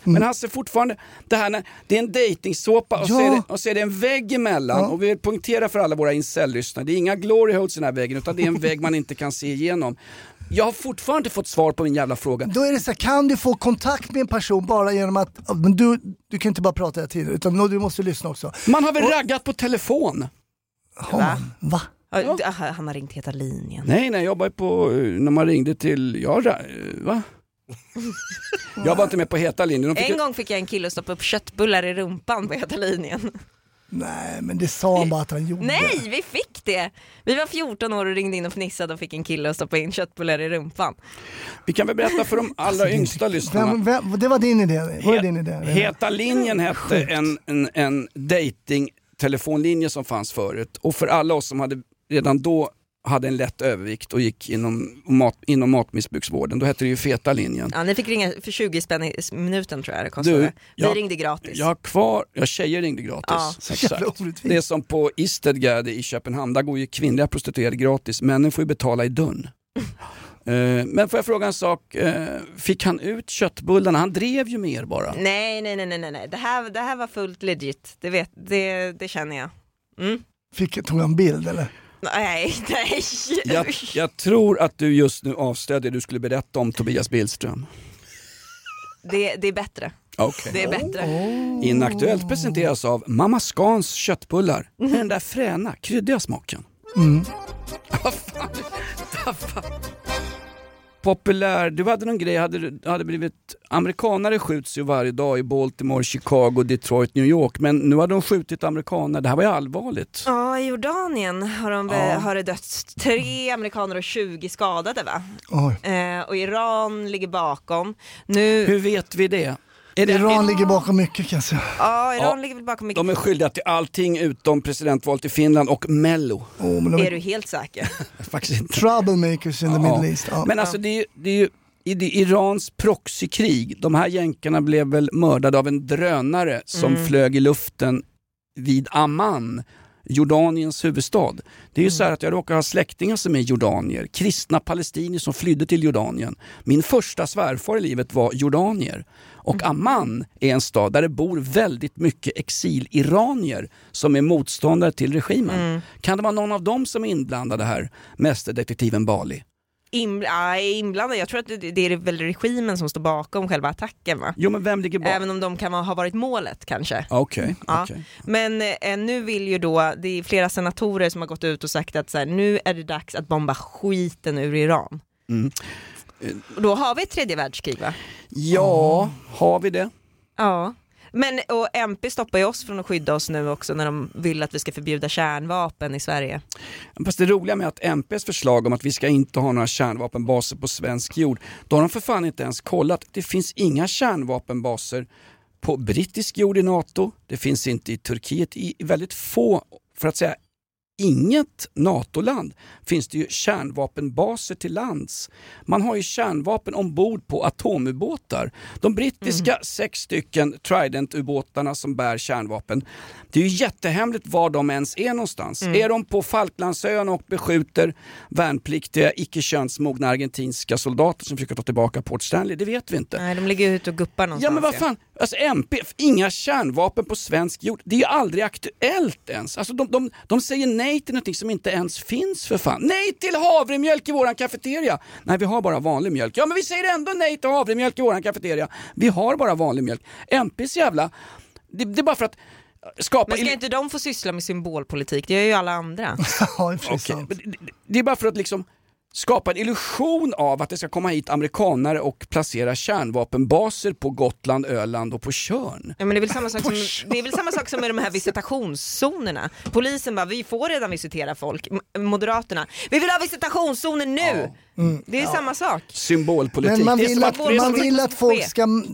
Speaker 1: Men Hasse fortfarande, det här när, det är en dejtingsåpa och, så
Speaker 2: Ja.
Speaker 1: är det- och så är det en vägg emellan. Och vi vill poängtera för alla våra incel-lyssnare, det är inga glory holes i den här väggen utan det är en vägg man inte kan se igenom. Jag har fortfarande inte fått svar på min jävla fråga.
Speaker 3: Då är det så här, kan du få kontakt med en person bara genom att, ja, men du, du kan inte bara prata hela tiden utan nå- du måste lyssna också.
Speaker 1: Man har väl raggat på telefon?
Speaker 3: Har man? Va?
Speaker 2: Ja. d- aha, Han har ringt Heta linjen.
Speaker 1: Nej, nej, jag jobbar ju på, eh, när man ringde till, ja, ra- eh, va? Jag var inte med på heta linjen. De fick,
Speaker 2: En gång fick jag en kille att stoppa upp köttbullar i rumpan på Heta linjen.
Speaker 3: Nej men det sa han bara att han gjorde.
Speaker 2: Nej, vi fick det! Vi var 14 år och ringde in och fnissade och fick en kille att stoppa in köttbullar i rumpan.
Speaker 1: vi kan väl berätta för de allra yngsta
Speaker 3: Alltså, Vem,
Speaker 1: lyssnarna.
Speaker 3: vem, det var din idé? Vad är din idé?
Speaker 1: Heta linjen hette en, en, en dating telefonlinje som fanns förut och för alla oss som hade, redan då hade en lätt övervikt och gick inom, mat, inom matmissbruksvården, då hette det ju feta linjen.
Speaker 2: Ja, ni fick ringa för 20 spänn i minuten tror jag det kostade.
Speaker 1: Du, jag-
Speaker 2: vi ringde gratis.
Speaker 1: Jag har kvar, ja tjejer ringde gratis.
Speaker 2: Ja.
Speaker 1: Exakt.
Speaker 2: Jävla orättvist.
Speaker 1: Det är som på Istedgärde i Köpenhamn, där går ju kvinnliga prostituerade gratis, männen får ju betala i dörren.
Speaker 2: Mm.
Speaker 1: Eh, Men får jag fråga en sak, eh, fick han ut köttbullarna? Han drev ju med er bara.
Speaker 2: Nej, nej, nej, nej, nej, nej. Det här, det här var fullt legit. Det, vet, det, det känner jag. Mm.
Speaker 3: Fick, tog han bild eller?
Speaker 2: Nej, nej.
Speaker 1: Jag, jag tror att du just nu avslöjade det du skulle berätta om Tobias Billström.
Speaker 2: Det, det är bättre.
Speaker 1: Okej.
Speaker 2: Det är bättre.
Speaker 1: Inaktuellt presenteras av Mamma Scans köttbullar med den där fräna, kryddiga smaken.
Speaker 3: Mm.
Speaker 1: populär, du hade någon grej, hade, du- hade blivit, amerikanare skjuts ju varje dag i Baltimore, Chicago, Detroit, New York, men nu hade de skjutit amerikaner, det här var ju allvarligt.
Speaker 2: Ja, i Jordanien har, de,
Speaker 1: Ja.
Speaker 2: har det dött tre amerikaner och 20 skadade va?
Speaker 3: Oj.
Speaker 2: Eh, och Iran ligger bakom. Nu...
Speaker 1: Hur vet vi det? Är det
Speaker 3: Iran ligger bakom mycket kan jag säga.
Speaker 2: Ja, Iran
Speaker 1: Ja,
Speaker 2: ligger väl bakom mycket.
Speaker 1: De är skyldiga till allting utom presidentvalet i Finland och Mello.
Speaker 2: Är du helt säker?
Speaker 1: Faktiskt inte.
Speaker 3: Troublemakers in the
Speaker 1: Ja.
Speaker 3: Middle East. Ja.
Speaker 1: Men alltså det är ju, det är ju i det är Irans proxykrig, de här jänkarna blev väl mördade av en drönare som
Speaker 8: Mm.
Speaker 1: flög i luften vid Amman, Jordaniens huvudstad. Det är ju så här att jag råkar ha släktingar som är jordanier, kristna palestinier som flydde till Jordanien. Min första svärfar i livet var jordanier och Amman är en stad där det bor väldigt mycket exiliranier som är motståndare till regimen. Kan det vara någon av dem som är inblandade här, mästerdetektiven Bali?
Speaker 2: Inbl- ja, inblandad. Jag tror att det, det är väl regimen som står bakom själva attacken va?
Speaker 1: Jo men vem ligger bakom?
Speaker 2: Även om de kan ha varit målet kanske.
Speaker 1: Okej, okej.
Speaker 2: Ja. Men eh, nu vill ju då, det är flera senatorer som har gått ut och sagt att så här, nu är det dags att bomba skiten ur Iran.
Speaker 1: Mm.
Speaker 2: Och då har vi ett tredje världskrig va?
Speaker 1: Ja, har vi det?
Speaker 2: Ja. Men och MP stoppar ju oss från att skydda oss nu också när de vill att vi ska förbjuda kärnvapen i Sverige.
Speaker 1: Fast det roliga med att MPs förslag om att vi ska inte ha några kärnvapenbaser på svensk jord, då har de för fan inte ens kollat. Det finns inga kärnvapenbaser på brittisk jord i NATO, det finns inte i Turkiet, i väldigt få, för att säga inget NATO-land finns det ju kärnvapenbaser till lands. Man har ju kärnvapen ombord på atomubåtar. De brittiska sex stycken Trident-ubåtarna som bär kärnvapen. Det är ju jättehemligt var de ens är någonstans. Är de på Falklandsöarna och beskjuter värnpliktiga icke-könsmogna argentinska soldater som försöker ta tillbaka Port Stanley? Det vet vi inte.
Speaker 2: Nej, de ligger ute och guppar någonstans.
Speaker 1: Ja men vad fan, alltså MP, inga kärnvapen på svensk jord. Det är ju aldrig aktuellt ens. Alltså de, de, de säger nej till någonting som inte ens finns för fan. Nej till havremjölk i våran kafeteria! Nej vi har bara vanlig mjölk. Ja men vi säger ändå nej till havremjölk i våran kafeteria. Vi har bara vanlig mjölk. MPs jävla, det, det är bara för att skapa...
Speaker 2: Men ska inte de få syssla med symbolpolitik? Det gör ju alla andra.
Speaker 3: Ja, i och för sig
Speaker 1: Okej,
Speaker 3: sant.
Speaker 1: men det- det- Det är bara för att liksom skapa en illusion av att det ska komma hit amerikanare och placera kärnvapenbaser på Gotland, Öland och på Tjörn.
Speaker 2: Ja, men det, är väl samma sak som, det är väl samma sak som med de här visitationszonerna. Polisen bara, vi får redan visitera folk. M- Moderaterna, vi vill ha visitationszoner nu!
Speaker 1: Mm.
Speaker 2: Det är samma sak.
Speaker 1: Symbolpolitik.
Speaker 3: Men man
Speaker 1: Det är
Speaker 3: vill
Speaker 1: som
Speaker 3: att,
Speaker 2: vår-
Speaker 3: man
Speaker 2: det är
Speaker 3: vill
Speaker 2: som
Speaker 3: att
Speaker 2: ett
Speaker 3: folk
Speaker 2: chef.
Speaker 3: ska m-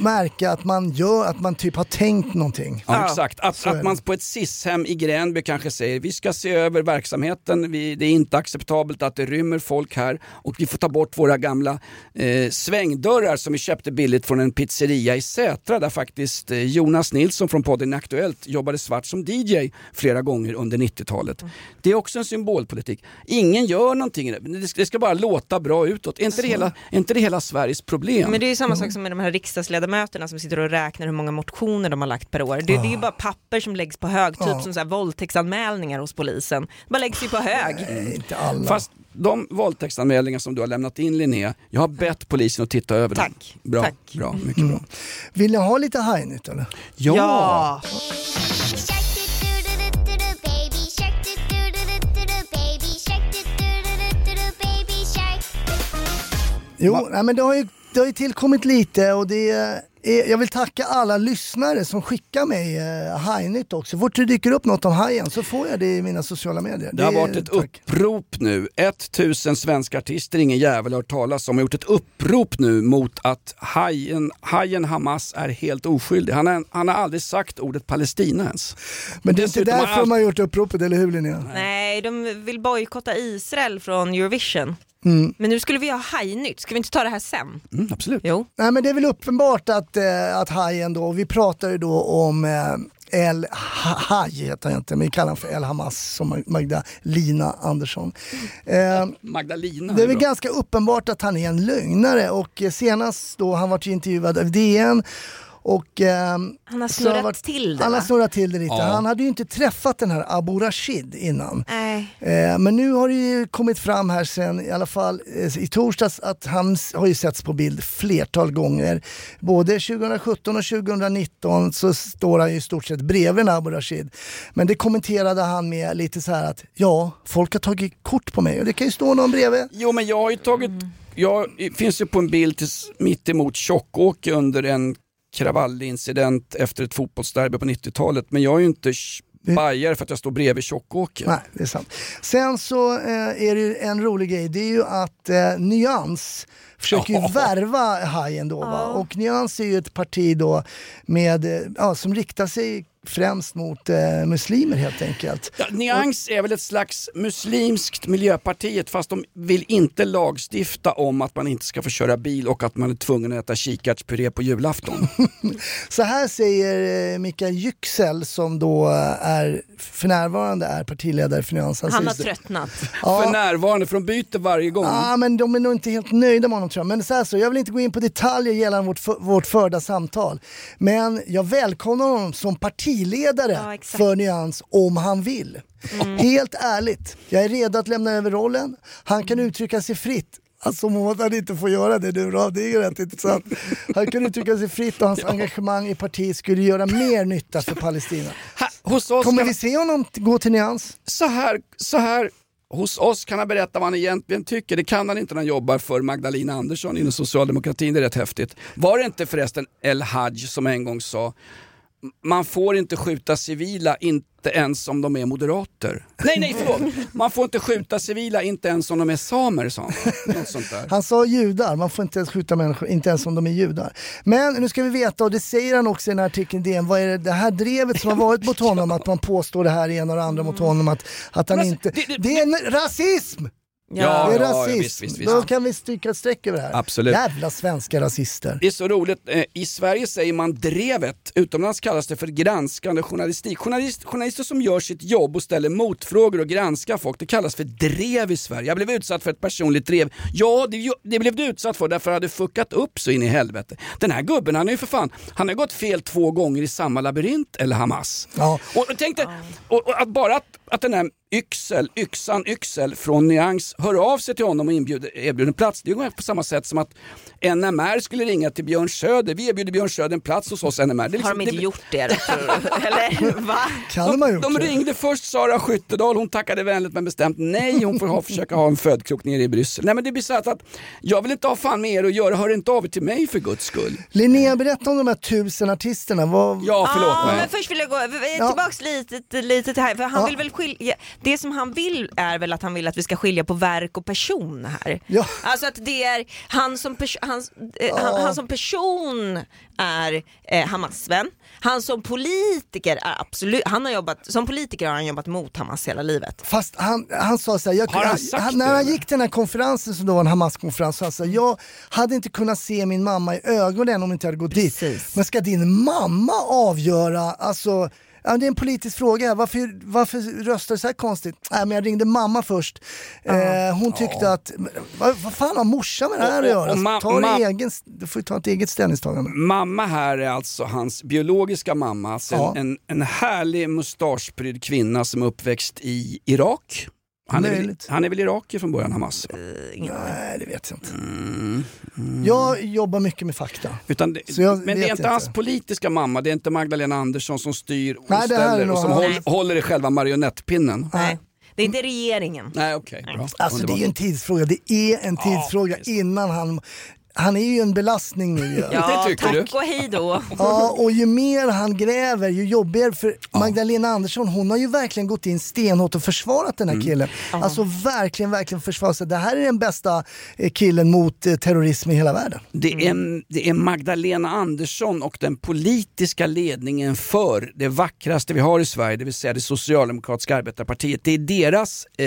Speaker 3: märka att man gör, att man typ har tänkt någonting.
Speaker 1: Ja,
Speaker 2: Ja,
Speaker 1: exakt. Att,
Speaker 3: så är
Speaker 1: att
Speaker 3: det.
Speaker 1: man på ett SIS-hem i Gränby kanske säger vi ska se över verksamheten, vi, det är inte acceptabelt att det rymmer folk här och vi får ta bort våra gamla eh, svängdörrar som vi köpte billigt från en pizzeria i Sätra där faktiskt eh, Jonas Nilsson från podden Aktuellt jobbade svart som DJ flera gånger under 90-talet. Det är också en symbolpolitik. Ingen gör någonting, i det. Men det ska, det ska bara låta bra utåt. Är inte, det hela, är inte det hela Sveriges problem?
Speaker 2: Men det är ju samma
Speaker 1: Mm.
Speaker 2: sak som med de här riksdagsledamöterna som sitter och räknar hur många motioner de har lagt per år. Det, det är ju
Speaker 1: Ah.
Speaker 2: bara papper som läggs på hög, typ som så här våldtäktsanmälningar hos polisen. Det bara läggs ju på hög.
Speaker 1: Eh,
Speaker 3: Inte alla.
Speaker 1: Fast de våldtäktsanmälningar som du har lämnat in Linnea, jag har bett polisen att titta över
Speaker 2: Tack.
Speaker 1: dem. Bra,
Speaker 2: Tack.
Speaker 1: bra, mycket
Speaker 3: Mm.
Speaker 1: bra.
Speaker 3: Vill ni ha lite hajnytt eller?
Speaker 1: Ja!
Speaker 3: Jo, nej, men det har, ju, det har ju tillkommit lite och det är, jag vill tacka alla lyssnare som skickar mig eh, hajnytt också. Fort det dyker upp något om hajen så får jag det i mina sociala medier.
Speaker 1: Det har
Speaker 3: är-
Speaker 1: varit ett
Speaker 3: tack.
Speaker 1: upprop nu. 1000 svenska artister ingen jävel har hört talas om har gjort ett upprop nu mot att hajen, hajen Hamas är helt oskyldig. Han, är, han har aldrig sagt ordet Palestina ens.
Speaker 3: Men det är inte
Speaker 1: Dessutom har
Speaker 3: därför
Speaker 1: allt-
Speaker 3: man har gjort uppropet, eller hur Linnea?
Speaker 2: Nej, de vill bojkotta Israel från Eurovision. Men nu skulle vi ha hajnytt, ska vi inte ta det här sen?
Speaker 1: Mm, absolut.
Speaker 2: Jo.
Speaker 3: Nej men det är väl uppenbart att, eh, att hajen då, vi pratar ju då om eh, El Ha- Haj heter han inte, men vi kallar honom för El Hamas som Mag- Magdalena Andersson. Eh,
Speaker 1: Magdalena
Speaker 3: det är
Speaker 1: är
Speaker 3: väl
Speaker 1: bra.
Speaker 3: ganska uppenbart att han är en lögnare och eh, senast då han varit intervjuad av DN och, ehm,
Speaker 2: Han har
Speaker 3: så
Speaker 2: snurrat
Speaker 3: varit-
Speaker 2: till det,
Speaker 3: Han har
Speaker 2: va?
Speaker 3: snurrat till det lite.
Speaker 1: Ja.
Speaker 3: Han hade ju inte träffat den här Abu Rashid innan.
Speaker 2: Nej.
Speaker 3: Eh, Men nu har det ju kommit fram här sen, i alla fall eh, i torsdags, att han s- har ju setts på bild flertal gånger. Både 2017 och 2019 så står han ju i stort sett bredvid Abu Rashid. Men det kommenterade han med lite så här att ja, folk har tagit kort på mig och det kan ju stå någon bredvid.
Speaker 1: Jo men jag har ju tagit, jag finns ju på en bild tills, mitt emot Tjockåke under en kravallincident efter ett fotbollsderby på 90-talet. Men jag är ju inte sh- bajare för att jag står bredvid Tjockåke.
Speaker 3: Nej, det är sant. Sen så eh, är det ju en rolig grej, det är ju att eh, Nyans försöker ju
Speaker 1: Ja.
Speaker 3: värva Hajen då. Va? Och Nyans är ju ett parti då med, eh, ja, som riktar sig främst mot eh, muslimer helt enkelt.
Speaker 1: Ja, Nyans är väl ett slags muslimskt Miljöpartiet fast de vill inte lagstifta om att man inte ska få köra bil och att man är tvungen att äta kikärtspuré på julafton.
Speaker 3: Så här säger eh, Mikael Yüksel som då eh, är, för närvarande är partiledare för Nyans.
Speaker 2: Han har
Speaker 3: säger-
Speaker 2: tröttnat.
Speaker 3: Ja.
Speaker 1: För närvarande, för de byter varje gång.
Speaker 3: Ja, men de är nog inte helt nöjda med honom tror jag. Men så här så, jag vill inte gå in på detaljer gällande vårt, för, vårt förda samtal. Men jag välkomnar honom som partiledare
Speaker 2: Ja, exakt. Mm.
Speaker 3: för Nyans om han vill. Helt ärligt, jag är redo att lämna över rollen. Han kan uttrycka sig fritt. Alltså om att han inte får göra det nu då, det är ju rätt intressant. Han kan uttrycka sig fritt och hans engagemang i partiet skulle göra mer nytta för Palestina.
Speaker 1: Ha, hos oss
Speaker 3: Kommer
Speaker 1: kan-
Speaker 3: vi se honom t- gå till Nyans?
Speaker 1: så här, så här, hos oss kan han berätta vad han egentligen tycker. Det kan han inte när han jobbar för Magdalena Andersson inom socialdemokratin. Det är rätt häftigt. Var det inte förresten El Haj som en gång sa man får inte skjuta civila, inte ens om de är moderater. Nej, nej, förlåt! Man får inte skjuta civila, inte ens om de är samer, sa han. Något sånt där.
Speaker 3: Han sa judar, man får inte ens skjuta människor, inte ens om de är judar. Men nu ska vi veta, och det säger han också i den här artikeln i DN, vad är det, det här drevet som har varit mot honom, att man påstår det här ena och det andra mot honom, att, att han inte... Det är en rasism!
Speaker 1: Ja,
Speaker 3: det är
Speaker 1: ja,
Speaker 3: rasism.
Speaker 1: ja, visst, visst, visst.
Speaker 3: Då kan vi stryka ett streck över det här.
Speaker 1: Absolut.
Speaker 3: Jävla svenska rasister.
Speaker 1: Det är så roligt, Eh, i Sverige säger man drevet, utomlands kallas det för granskande journalistik. Journalist, journalister som gör sitt jobb och ställer motfrågor och granskar folk, det kallas för drev i Sverige. Jag blev utsatt för ett personligt drev. Ja, det, ju- det blev du utsatt för därför hade du fuckat upp så in i helvete. Den här gubben, han är ju för fan, han har gått fel två gånger i samma labyrint, eller Hamas. Och, och tänk dig, och, och att bara att, att den här Yxel, yxan Yxel från Nyans hör av sig till honom och inbjuder, erbjuder en plats. Det är ungefär på samma sätt som att NMR skulle ringa till Björn Söder. Vi erbjuder Björn Söder en plats hos oss NMR. Det är
Speaker 9: Har de inte gjort det då, tror du? Eller va?
Speaker 3: Kan man ju
Speaker 1: de ringde först Sara Skyttedal, hon tackade vänligt men bestämt nej, hon får ha, försöka ha en födkrok nere i Bryssel. Nej men det blir så att, att jag vill inte ha fan med er att göra, hör inte av er till mig för guds skull.
Speaker 3: Linnea, berätta om de här tusen artisterna. Vad...
Speaker 1: Ja, förlåt
Speaker 3: Ah,
Speaker 1: mig.
Speaker 2: Men först vill jag gå eh, tillbaks lite, lite till här, för han vill väl skilja, det som han vill är väl att han vill att vi ska skilja på verk och person här.
Speaker 3: Ja.
Speaker 2: Alltså att det är han som, pers- han, eh, han, han som person är eh, Hamas-vän, han som politiker är absolut, han har jobbat, som politiker har han jobbat mot Hamas hela livet.
Speaker 3: Fast han, han sa så här, jag,
Speaker 2: Har han sagt
Speaker 3: när
Speaker 2: det,
Speaker 3: han
Speaker 2: eller?
Speaker 3: gick till den här konferensen som då var en Hamas-konferens, så han sa jag hade inte kunnat se min mamma i ögonen om inte jag hade gått dit. Men ska din mamma avgöra, alltså Ja, det är en politisk fråga. här. Varför, varför röstar du så här konstigt? Nej, men jag ringde mamma först. Eh, hon tyckte att, vad, vad fan har morsan med det här
Speaker 1: Och-
Speaker 3: att
Speaker 1: och-
Speaker 3: göra?
Speaker 1: och ma-
Speaker 3: ta
Speaker 1: ma- Mm.
Speaker 3: ma- egen, du får ju ta ett eget ställningstagande.
Speaker 1: Mamma här är alltså hans biologiska mamma, alltså
Speaker 3: Ja.
Speaker 1: en, en, en härlig mustaschprydd kvinna som är uppväxt i Irak. Han är, väl,
Speaker 3: Möjligt.
Speaker 1: han är väl irakier från början, Hamas?
Speaker 3: Nej, det vet jag inte. Jag jobbar mycket med fakta.
Speaker 1: Utan det,
Speaker 3: Så jag
Speaker 1: men det är
Speaker 3: vet
Speaker 1: inte,
Speaker 3: inte.
Speaker 1: hans politiska mamma, det är inte Magdalena Andersson som styr och
Speaker 3: Nej, det här är
Speaker 1: ställer och
Speaker 3: nog
Speaker 1: som
Speaker 3: han.
Speaker 1: håll, håller i själva marionettpinnen.
Speaker 2: Nej. Det är inte regeringen.
Speaker 1: Nej, okej. bra.
Speaker 3: Alltså det är ju en tidsfråga, det är en tidsfråga innan han... Han är ju en belastning nu ju.
Speaker 2: Ja, tack och hej då.
Speaker 3: Ja, och ju mer han gräver ju jobbigare för Magdalena Andersson hon har ju verkligen gått in stenhårt och försvarat den här
Speaker 1: Mm.
Speaker 3: killen. Alltså verkligen, verkligen försvarat sig. Det här är den bästa eh, killen mot eh, terrorism i hela världen.
Speaker 1: Det är, det är Magdalena Andersson och den politiska ledningen för det vackraste vi har i Sverige, det vill säga det socialdemokratiska arbetarpartiet. Det är deras eh,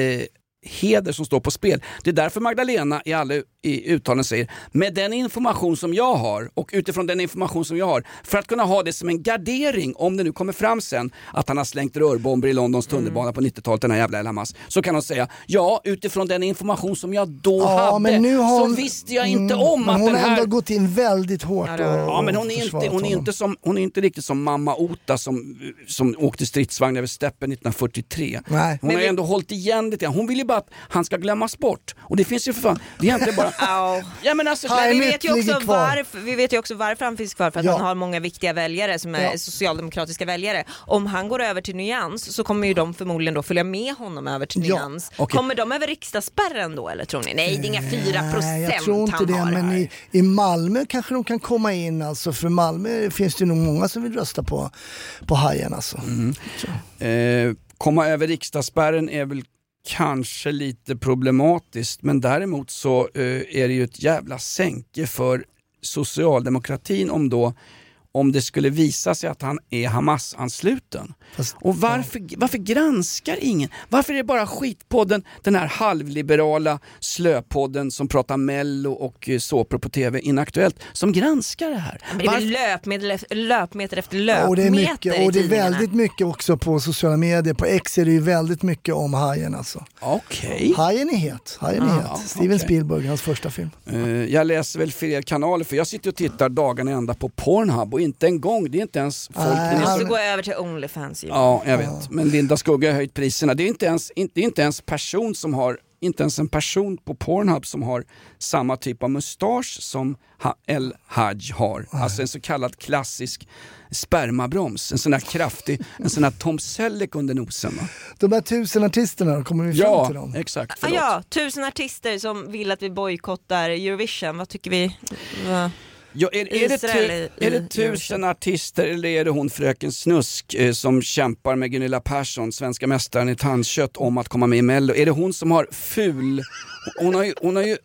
Speaker 1: heder som står på spel. Det är därför Magdalena i alla u- i uttalanden säger, med den information som jag har och utifrån den information som jag har, för att kunna ha det som en gardering, om det nu kommer fram sen att han har slängt rörbomber i Londons tunnelbana på 90-talet, den här jävla El Hamas, så kan hon säga, ja utifrån den information som jag då hade, så visste jag inte
Speaker 3: Mm,
Speaker 1: om
Speaker 3: men
Speaker 1: att
Speaker 3: hon
Speaker 1: den
Speaker 3: har
Speaker 1: här
Speaker 3: ändå gått in väldigt hårt och
Speaker 1: Ja men hon är, inte,
Speaker 3: försvarat
Speaker 1: hon, är
Speaker 3: honom.
Speaker 1: inte som, hon är inte riktigt som mamma Ota som, som åkte stridsvagn över steppen 1943.
Speaker 3: Nej.
Speaker 1: Hon
Speaker 3: Men
Speaker 1: har
Speaker 3: vi-
Speaker 1: ändå hållit igen lite grann. Hon vill ju bara att han ska glömmas bort. Och det finns ju för fan, det är egentligen bara... ja, men alltså,
Speaker 2: Men vi,
Speaker 1: Hajmet
Speaker 2: vet ju också
Speaker 1: ligger kvar.
Speaker 2: varför, vi vet ju också varför han finns kvar, för att
Speaker 1: Ja.
Speaker 2: han har många viktiga väljare som är
Speaker 1: Ja.
Speaker 2: socialdemokratiska väljare. Om han går över till Nyans så kommer ju de förmodligen då följa med honom över till
Speaker 3: Ja.
Speaker 2: Nyans.
Speaker 3: Okej.
Speaker 2: Kommer de över riksdagsspärren då eller tror ni? Nej det är inga 4
Speaker 3: Nej,
Speaker 2: procent
Speaker 3: jag tror inte
Speaker 2: han
Speaker 3: det,
Speaker 2: har.
Speaker 3: men i, i Malmö kanske de kan komma in alltså, för Malmö finns det nog många som vill rösta på, på Hajen alltså.
Speaker 2: Mm.
Speaker 1: Eh, komma över riksdagsspärren är väl kanske lite problematiskt men däremot så eh, är det ju ett jävla sänke för socialdemokratin om då om det skulle visa sig att han är Hamas-ansluten. Och varför, varför granskar ingen? Varför är det bara skitpodden, den här halvliberala slöpodden som pratar mello och eh, såpor på tv, Inaktuellt, som granskar det här?
Speaker 2: Men det är
Speaker 1: Varför-
Speaker 2: väl löpmedel, efter- löpmeter efter
Speaker 3: Ja,
Speaker 2: löpmeter
Speaker 3: och det är mycket, och det är
Speaker 2: i tidningarna.
Speaker 3: väldigt mycket också på sociala medier. På X är det ju väldigt mycket om Hajen alltså.
Speaker 1: Okej.
Speaker 3: Hajen är het, Hajen är
Speaker 1: Ah,
Speaker 3: het.
Speaker 1: ja,
Speaker 3: Steven Spielberg, hans första film.
Speaker 1: Eh, jag läser väl fel kanaler för jag sitter och tittar dagarna ända på Pornhub och inte en gång, det är inte ens folk... det
Speaker 2: Du
Speaker 1: är
Speaker 2: måste
Speaker 1: inte-
Speaker 2: gå över till Onlyfans Johan.
Speaker 1: Ja, jag vet. Men Linda Skugga har höjt priserna. Det är inte ens, inte, det är inte ens person som har inte ens en person på Pornhub som har samma typ av mustasch som ha- El Haj har. Alltså en så kallad klassisk spermabroms. En sån här kraftig, en sån här Tom Selleck under nosen. Va?
Speaker 3: De här tusen artisterna, då kommer vi fram
Speaker 1: Ja,
Speaker 3: till dem?
Speaker 1: exakt.
Speaker 2: Ah,
Speaker 1: Förlåt.
Speaker 2: ja, tusen artister som vill att vi bojkottar Eurovision, vad tycker vi? Va?
Speaker 1: Ja, är, är, det
Speaker 9: Israel
Speaker 1: tu,
Speaker 9: i-
Speaker 1: är det
Speaker 9: i-
Speaker 1: tusen artister eller är det hon fröken Snusk eh, som kämpar med Gunilla Persson, svenska mästaren i tandkött, om att komma med i Mello? Är det hon som har ful... Hon har ju, hon har ju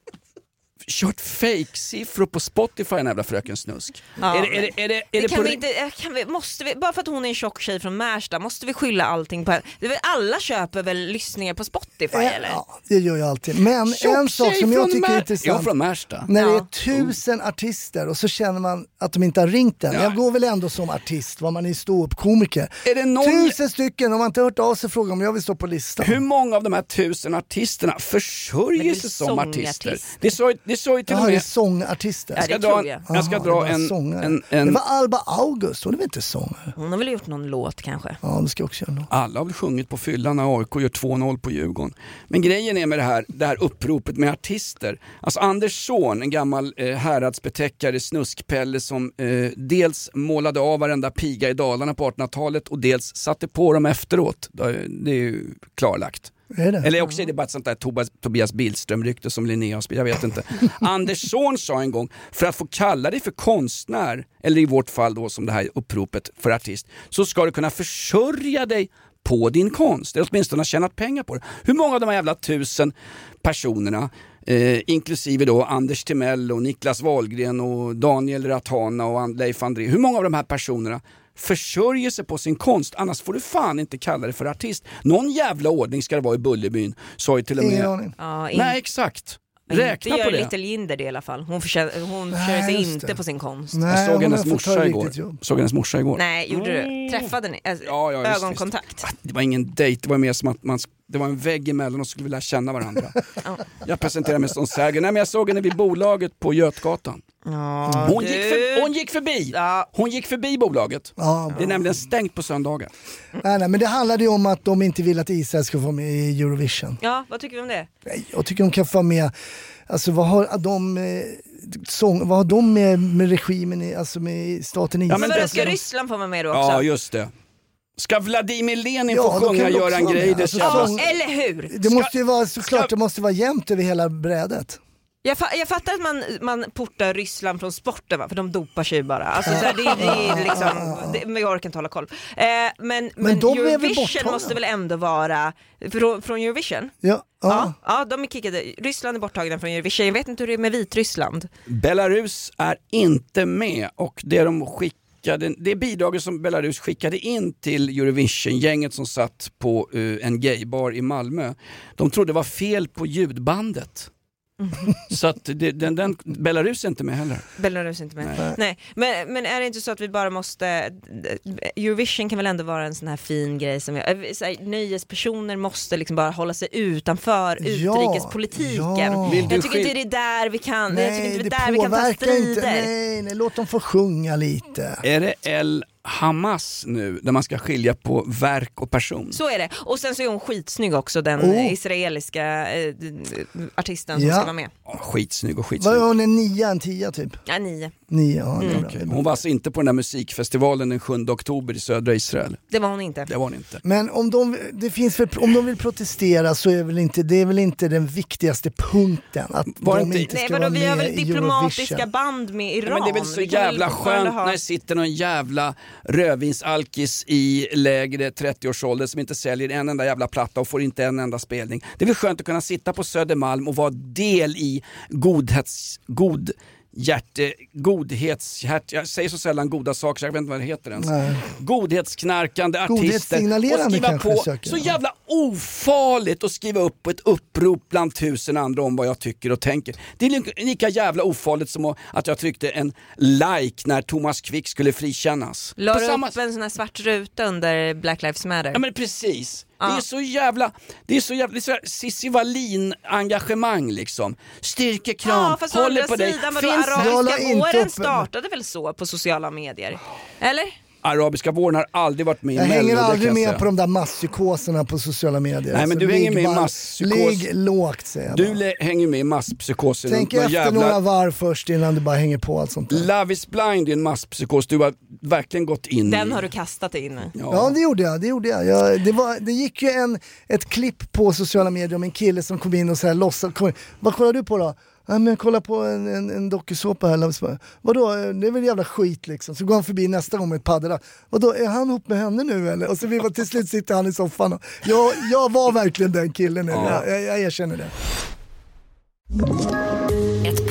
Speaker 1: kört fake-siffror på Spotify den jävla fröken Snusk.
Speaker 2: Ja,
Speaker 1: är det, är det, är det, är det
Speaker 2: kan
Speaker 1: på
Speaker 2: vi
Speaker 1: ri-
Speaker 2: inte, eh, kan vi, måste vi, bara för att hon är en tjock tjej från Märsta, måste vi skylla allting på henne? Det är väl, alla köper väl lyssningar på Spotify
Speaker 3: Eh,
Speaker 2: eller?
Speaker 3: Ja, det gör jag alltid. Men
Speaker 2: Tjock
Speaker 3: en sak
Speaker 2: tjej
Speaker 3: som jag
Speaker 2: från
Speaker 3: tycker
Speaker 2: Mär-
Speaker 3: är
Speaker 1: Jag är
Speaker 3: intressant.
Speaker 1: från Märsta.
Speaker 3: När det är tusen artister och så känner man att de inte har ringt den. Jag går väl ändå som artist, vad man är ståuppkomiker.
Speaker 1: Är det någon-
Speaker 3: Tusen stycken, om man inte hört av sig fråga om jag vill stå på listan.
Speaker 1: Hur många av de här tusen artisterna försörjer sig som artister? Det sa ju- det sa ju till och
Speaker 3: Jaha, det är
Speaker 1: med...
Speaker 3: sångartister.
Speaker 1: Jag ska Ja, det dra tror en- jag. jag ska
Speaker 3: Jaha,
Speaker 1: dra
Speaker 3: det var
Speaker 1: en-
Speaker 3: sångare.
Speaker 1: en- en-
Speaker 3: Det var Alba August, hon är väl inte sångare?
Speaker 2: Hon har väl gjort någon låt kanske?
Speaker 3: Ja, hon ska också göra något.
Speaker 1: Alla har väl sjungit på fyllan när AIK gör 2-0 på Djurgården. Men grejen är med det här, det här uppropet med artister. Alltså Anders Zorn, en gammal eh, häradsbetäckare, snuskpelle som eh, dels målade av varenda piga i Dalarna på 1800-talet och dels satte på dem efteråt. Det är- Det är ju klarlagt.
Speaker 3: Är det?
Speaker 1: Eller också är det bara ett sånt där Tobias, Tobias Billström-rykte som Linnea har spridit, jag vet inte. Anders Zorn sa en gång, för att få kalla dig för konstnär, eller i vårt fall då som det här uppropet för artist, så ska du kunna försörja dig på din konst, eller åtminstone ha tjänat pengar på det. Hur många av de här jävla tusen personerna, eh, inklusive då Anders Timell och Niklas Wahlgren och Daniel Ratana och An- Leif André, hur många av de här personerna försörjer sig på sin konst, annars får du fan inte kalla det för artist. Någon jävla ordning ska det vara i Bullerbyn, sa ju till och med...
Speaker 2: Ingen aning. Ja, in-
Speaker 1: Nej, exakt.
Speaker 2: Men
Speaker 1: Räkna
Speaker 2: inte
Speaker 1: på
Speaker 2: gör
Speaker 1: det.
Speaker 2: Little Jinder det i alla fall. Hon försörjer, hon
Speaker 3: Nej,
Speaker 2: försörjer sig
Speaker 3: just
Speaker 2: inte
Speaker 3: det.
Speaker 2: på sin konst.
Speaker 3: Nej,
Speaker 1: jag såg
Speaker 3: hon
Speaker 1: hennes
Speaker 3: har fått ta
Speaker 1: morsa
Speaker 3: ett
Speaker 1: igår.
Speaker 3: riktigt jobb.
Speaker 1: Såg hennes morsa igår.
Speaker 2: Nej, gjorde du? Träffade ni? Alltså,
Speaker 1: ja, visst,
Speaker 2: ögonkontakt?
Speaker 1: Det var ingen dejt, det var mer som att man, det var en vägg emellan och skulle vilja känna varandra. jag presenterade mig som Sergej. Nej men jag såg henne vid bolaget på Götgatan. Hon gick, för, hon gick förbi! Hon gick förbi bolaget.
Speaker 3: Ja,
Speaker 1: Det är nämligen stängt på söndagar.
Speaker 3: Nej, nej, men det handlade ju om att de inte vill att Israel ska få vara med i Eurovision.
Speaker 2: Ja, vad tycker vi om det?
Speaker 3: Jag tycker de kan få vara med, alltså vad har de, eh, sång, vad har de med, med regimen, i, alltså med staten Israel?
Speaker 2: men vadå, ska Ryssland få vara med då också?
Speaker 1: Ja just det. Ska Vladimir Lenin
Speaker 3: Ja,
Speaker 1: få
Speaker 3: då kan
Speaker 1: sjunga
Speaker 3: de också
Speaker 1: Göran
Speaker 3: vara med.
Speaker 1: Greiders
Speaker 3: Alltså,
Speaker 1: jävla...
Speaker 3: sång-
Speaker 2: Eller hur?
Speaker 3: Det måste ju vara, såklart det måste vara jämnt över hela brädet.
Speaker 2: Jag, fa jag fattar att man, man portar Ryssland från sporten va? för de dopar sig bara. Alltså, så här, det, det är liksom, det, men jag orkar inte hålla koll. Eh, men men,
Speaker 3: de är väl
Speaker 2: Eurovision
Speaker 3: borttagna?
Speaker 2: måste väl ändå vara, från, från Eurovision?
Speaker 3: Ja, ja.
Speaker 2: Ja, de är kickade. Ryssland är borttagna från Eurovision. Jag vet inte hur det är med Vitryssland.
Speaker 1: Belarus är inte med och det de skickade, det bidraget som Belarus skickade in till Eurovision-gänget som satt på eh, en gaybar i Malmö, de trodde det var fel på ljudbandet. Så att det, den, den, Belarus är inte med heller.
Speaker 2: Belarus är inte med.
Speaker 1: Nej.
Speaker 2: Nej. Men, men är det inte så att vi bara måste, Eurovision kan väl ändå vara en sån här fin grej som, vi- så här, nöjespersoner måste liksom bara hålla sig utanför
Speaker 3: Ja,
Speaker 2: utrikespolitiken.
Speaker 3: ja. Vill du
Speaker 2: Jag tycker inte
Speaker 3: skil-
Speaker 2: det är där vi kan, jag tycker inte det är där vi kan ta
Speaker 3: påverkar
Speaker 2: strider. Mm.
Speaker 3: inte. Nej, nej, låt dem få sjunga lite.
Speaker 1: Är det El Hamas nu, där man ska skilja på verk och person?
Speaker 2: Så är det. Och sen så är hon skitsnygg också den
Speaker 3: Oh.
Speaker 2: israeliska eh, d- d- artisten som
Speaker 3: Ja.
Speaker 2: ska vara med.
Speaker 1: Ja, Skitsnygg och skitsnygg.
Speaker 3: Vad är hon, en nia, en tia typ?
Speaker 2: Ja, nio.
Speaker 3: Nio, ja, det är
Speaker 1: Mm.
Speaker 3: bra.
Speaker 1: Okej. Hon var alltså inte på den där musikfestivalen den 7 oktober i södra Israel?
Speaker 2: Det var hon inte.
Speaker 1: Det var hon inte.
Speaker 3: Men om de, det finns väl, om de vill protestera så är väl inte, det är väl inte den viktigaste punkten? Att
Speaker 1: Var
Speaker 3: de
Speaker 1: inte-
Speaker 3: inte,
Speaker 2: Nej
Speaker 3: ska
Speaker 2: vadå,
Speaker 3: vara
Speaker 2: vi har
Speaker 3: med
Speaker 2: väl
Speaker 3: i
Speaker 2: diplomatiska
Speaker 3: Eurovision.
Speaker 2: band med Iran?
Speaker 1: Ja, men det är väl så
Speaker 2: Vi kan väl
Speaker 1: jävla
Speaker 2: fortfarande
Speaker 1: skönt
Speaker 2: ha-
Speaker 1: när det sitter någon jävla rödvinsalkis i lägre 30-årsåldern som inte säljer en enda jävla platta och får inte en enda spelning. Det är väl skönt att kunna sitta på Södermalm och vara del i godhets... God Hjärte, godhets, hjärt, jag säger så sällan goda saker så jag vet inte vad det heter ens.
Speaker 3: Nej.
Speaker 1: Godhetsknarkande artister och
Speaker 3: Godhetssignalerande
Speaker 1: skriva
Speaker 3: kanske
Speaker 1: på.
Speaker 3: jag söker.
Speaker 1: Så jävla ofarligt att skriva upp på ett upprop bland tusen andra om vad jag tycker och tänker. Det är lika- lika jävla ofarligt som att- att jag tryckte en like när Thomas Quick skulle frikännas.
Speaker 2: La
Speaker 1: På
Speaker 2: du
Speaker 1: samma-
Speaker 2: upp en sån här svart ruta under Black Lives Matter?
Speaker 1: Ja men precis. Det är så jävla, det är så jävla, det är så här Cissi Wallin-engagemang liksom. Styrkekram,
Speaker 2: Ja, fast å
Speaker 1: håller
Speaker 2: andra
Speaker 1: på dig.
Speaker 2: sidan, vadå,
Speaker 1: Finns
Speaker 3: Jag la
Speaker 2: arabiska
Speaker 3: inte upp
Speaker 2: våren
Speaker 3: en-
Speaker 2: startade väl så på sociala medier? Eller?
Speaker 1: Mm. Arabiska våren har aldrig varit med i
Speaker 3: Jag
Speaker 1: Mello,
Speaker 3: hänger
Speaker 1: det kan
Speaker 3: aldrig
Speaker 1: jag
Speaker 3: med
Speaker 1: säga.
Speaker 3: på de där masspsykoserna på sociala medier.
Speaker 1: Nej, men
Speaker 3: Alltså,
Speaker 1: du hänger
Speaker 3: ligg
Speaker 1: med i
Speaker 3: bara-
Speaker 1: masspsykos.
Speaker 3: Ligg lågt säger jag.
Speaker 1: Du
Speaker 3: bara.
Speaker 1: le- hänger med i masspsykosen.
Speaker 3: Tänk
Speaker 1: Någon
Speaker 3: efter några varv först innan du bara hänger på allt sånt där.
Speaker 1: Love is blind är en masspsykos du har verkligen gått in i.
Speaker 2: Den har du kastat in i.
Speaker 3: Ja det gjorde jag, det gjorde jag. jag det, var, det gick ju en, ett klipp på sociala medier om en kille som kom in och så här låtsas, kom in. vad kollar du på då? Ja, men kolla på en, en, en dokusåpa här, Love is blind. Vadå, eh, det är väl jävla skit liksom. Så går han förbi nästa gång med ett paddelrack. Vadå, är han ihop med henne nu eller? Och så vi var, till slut sitter han i soffan och, jag, jag var verkligen den killen, eller?
Speaker 8: Ja.
Speaker 3: jag, jag, jag erkänner det.
Speaker 8: Ett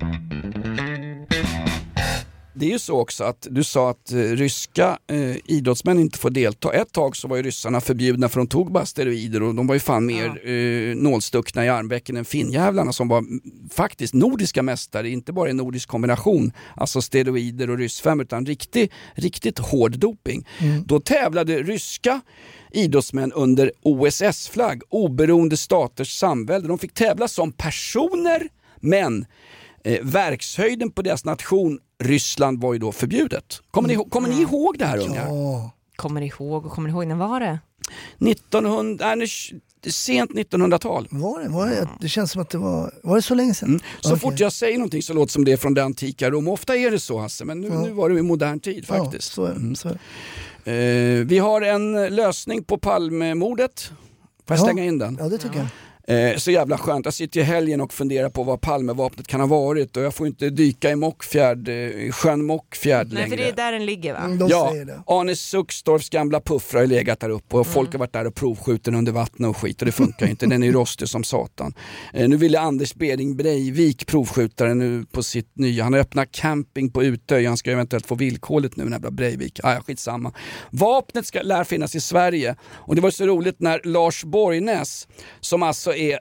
Speaker 1: Det är ju så också att du sa att eh, ryska eh, idrottsmän inte får delta. Ett tag så var ju ryssarna förbjudna för de tog bara steroider och de var ju fan mer eh, nålstuckna i armbäcken än finnjävlarna som var mm, faktiskt nordiska mästare, inte bara i nordisk kombination, alltså steroider och ryssfem, utan riktig, riktigt hård doping. Då tävlade ryska idrottsmän under OSS-flagg, oberoende staters samvälde. De fick tävla som personer, men eh, verkshöjden på deras nation Ryssland var ju då förbjudet. Kommer
Speaker 3: Mm.
Speaker 1: ni, ihåg- kommer ni ihåg det här unga?
Speaker 2: Kommer ihåg och kommer ihåg, när var det?
Speaker 1: 1900, nej, nu- sent 1900-tal.
Speaker 3: Var det, var det? Det känns som att det var, var det så länge sedan?
Speaker 1: Mm. Så fort jag säger någonting så låter det som det är från det antika Rom. Ofta är det så Hasse, men nu,
Speaker 3: Ja.
Speaker 1: nu var det i modern tid
Speaker 3: Ja,
Speaker 1: faktiskt. Mm.
Speaker 3: så är det, så är det.
Speaker 1: Eh, vi har en lösning på Palmemordet. Får jag
Speaker 3: Ja.
Speaker 1: slänga in den?
Speaker 3: Ja, det tycker jag.
Speaker 1: Eh, så jävla skönt. Jag sitter i helgen och funderar på vad Palmevapnet kan ha varit och jag får inte dyka i Mockfjärd, eh, i sjön Mockfjärd
Speaker 2: Nej,
Speaker 1: längre.
Speaker 2: för det är där den ligger va?
Speaker 3: Mm.
Speaker 1: ja, Arne Suckstorps gamla puffra har ju legat där uppe och folk har varit där och provskjutit under vattnet och skit och det funkar ju inte. Den är ju rostig som satan. Eh, nu ville Anders Bering Breivik provskjuta nu på sitt nya. Han har öppnat camping på Utöy. Han ska eventuellt få villkorligt nu, den här jävla Breivik. Ah, ja, skitsamma. Vapnet ska, lär finnas i Sverige och det var så roligt när Lars Borgnäs, som alltså är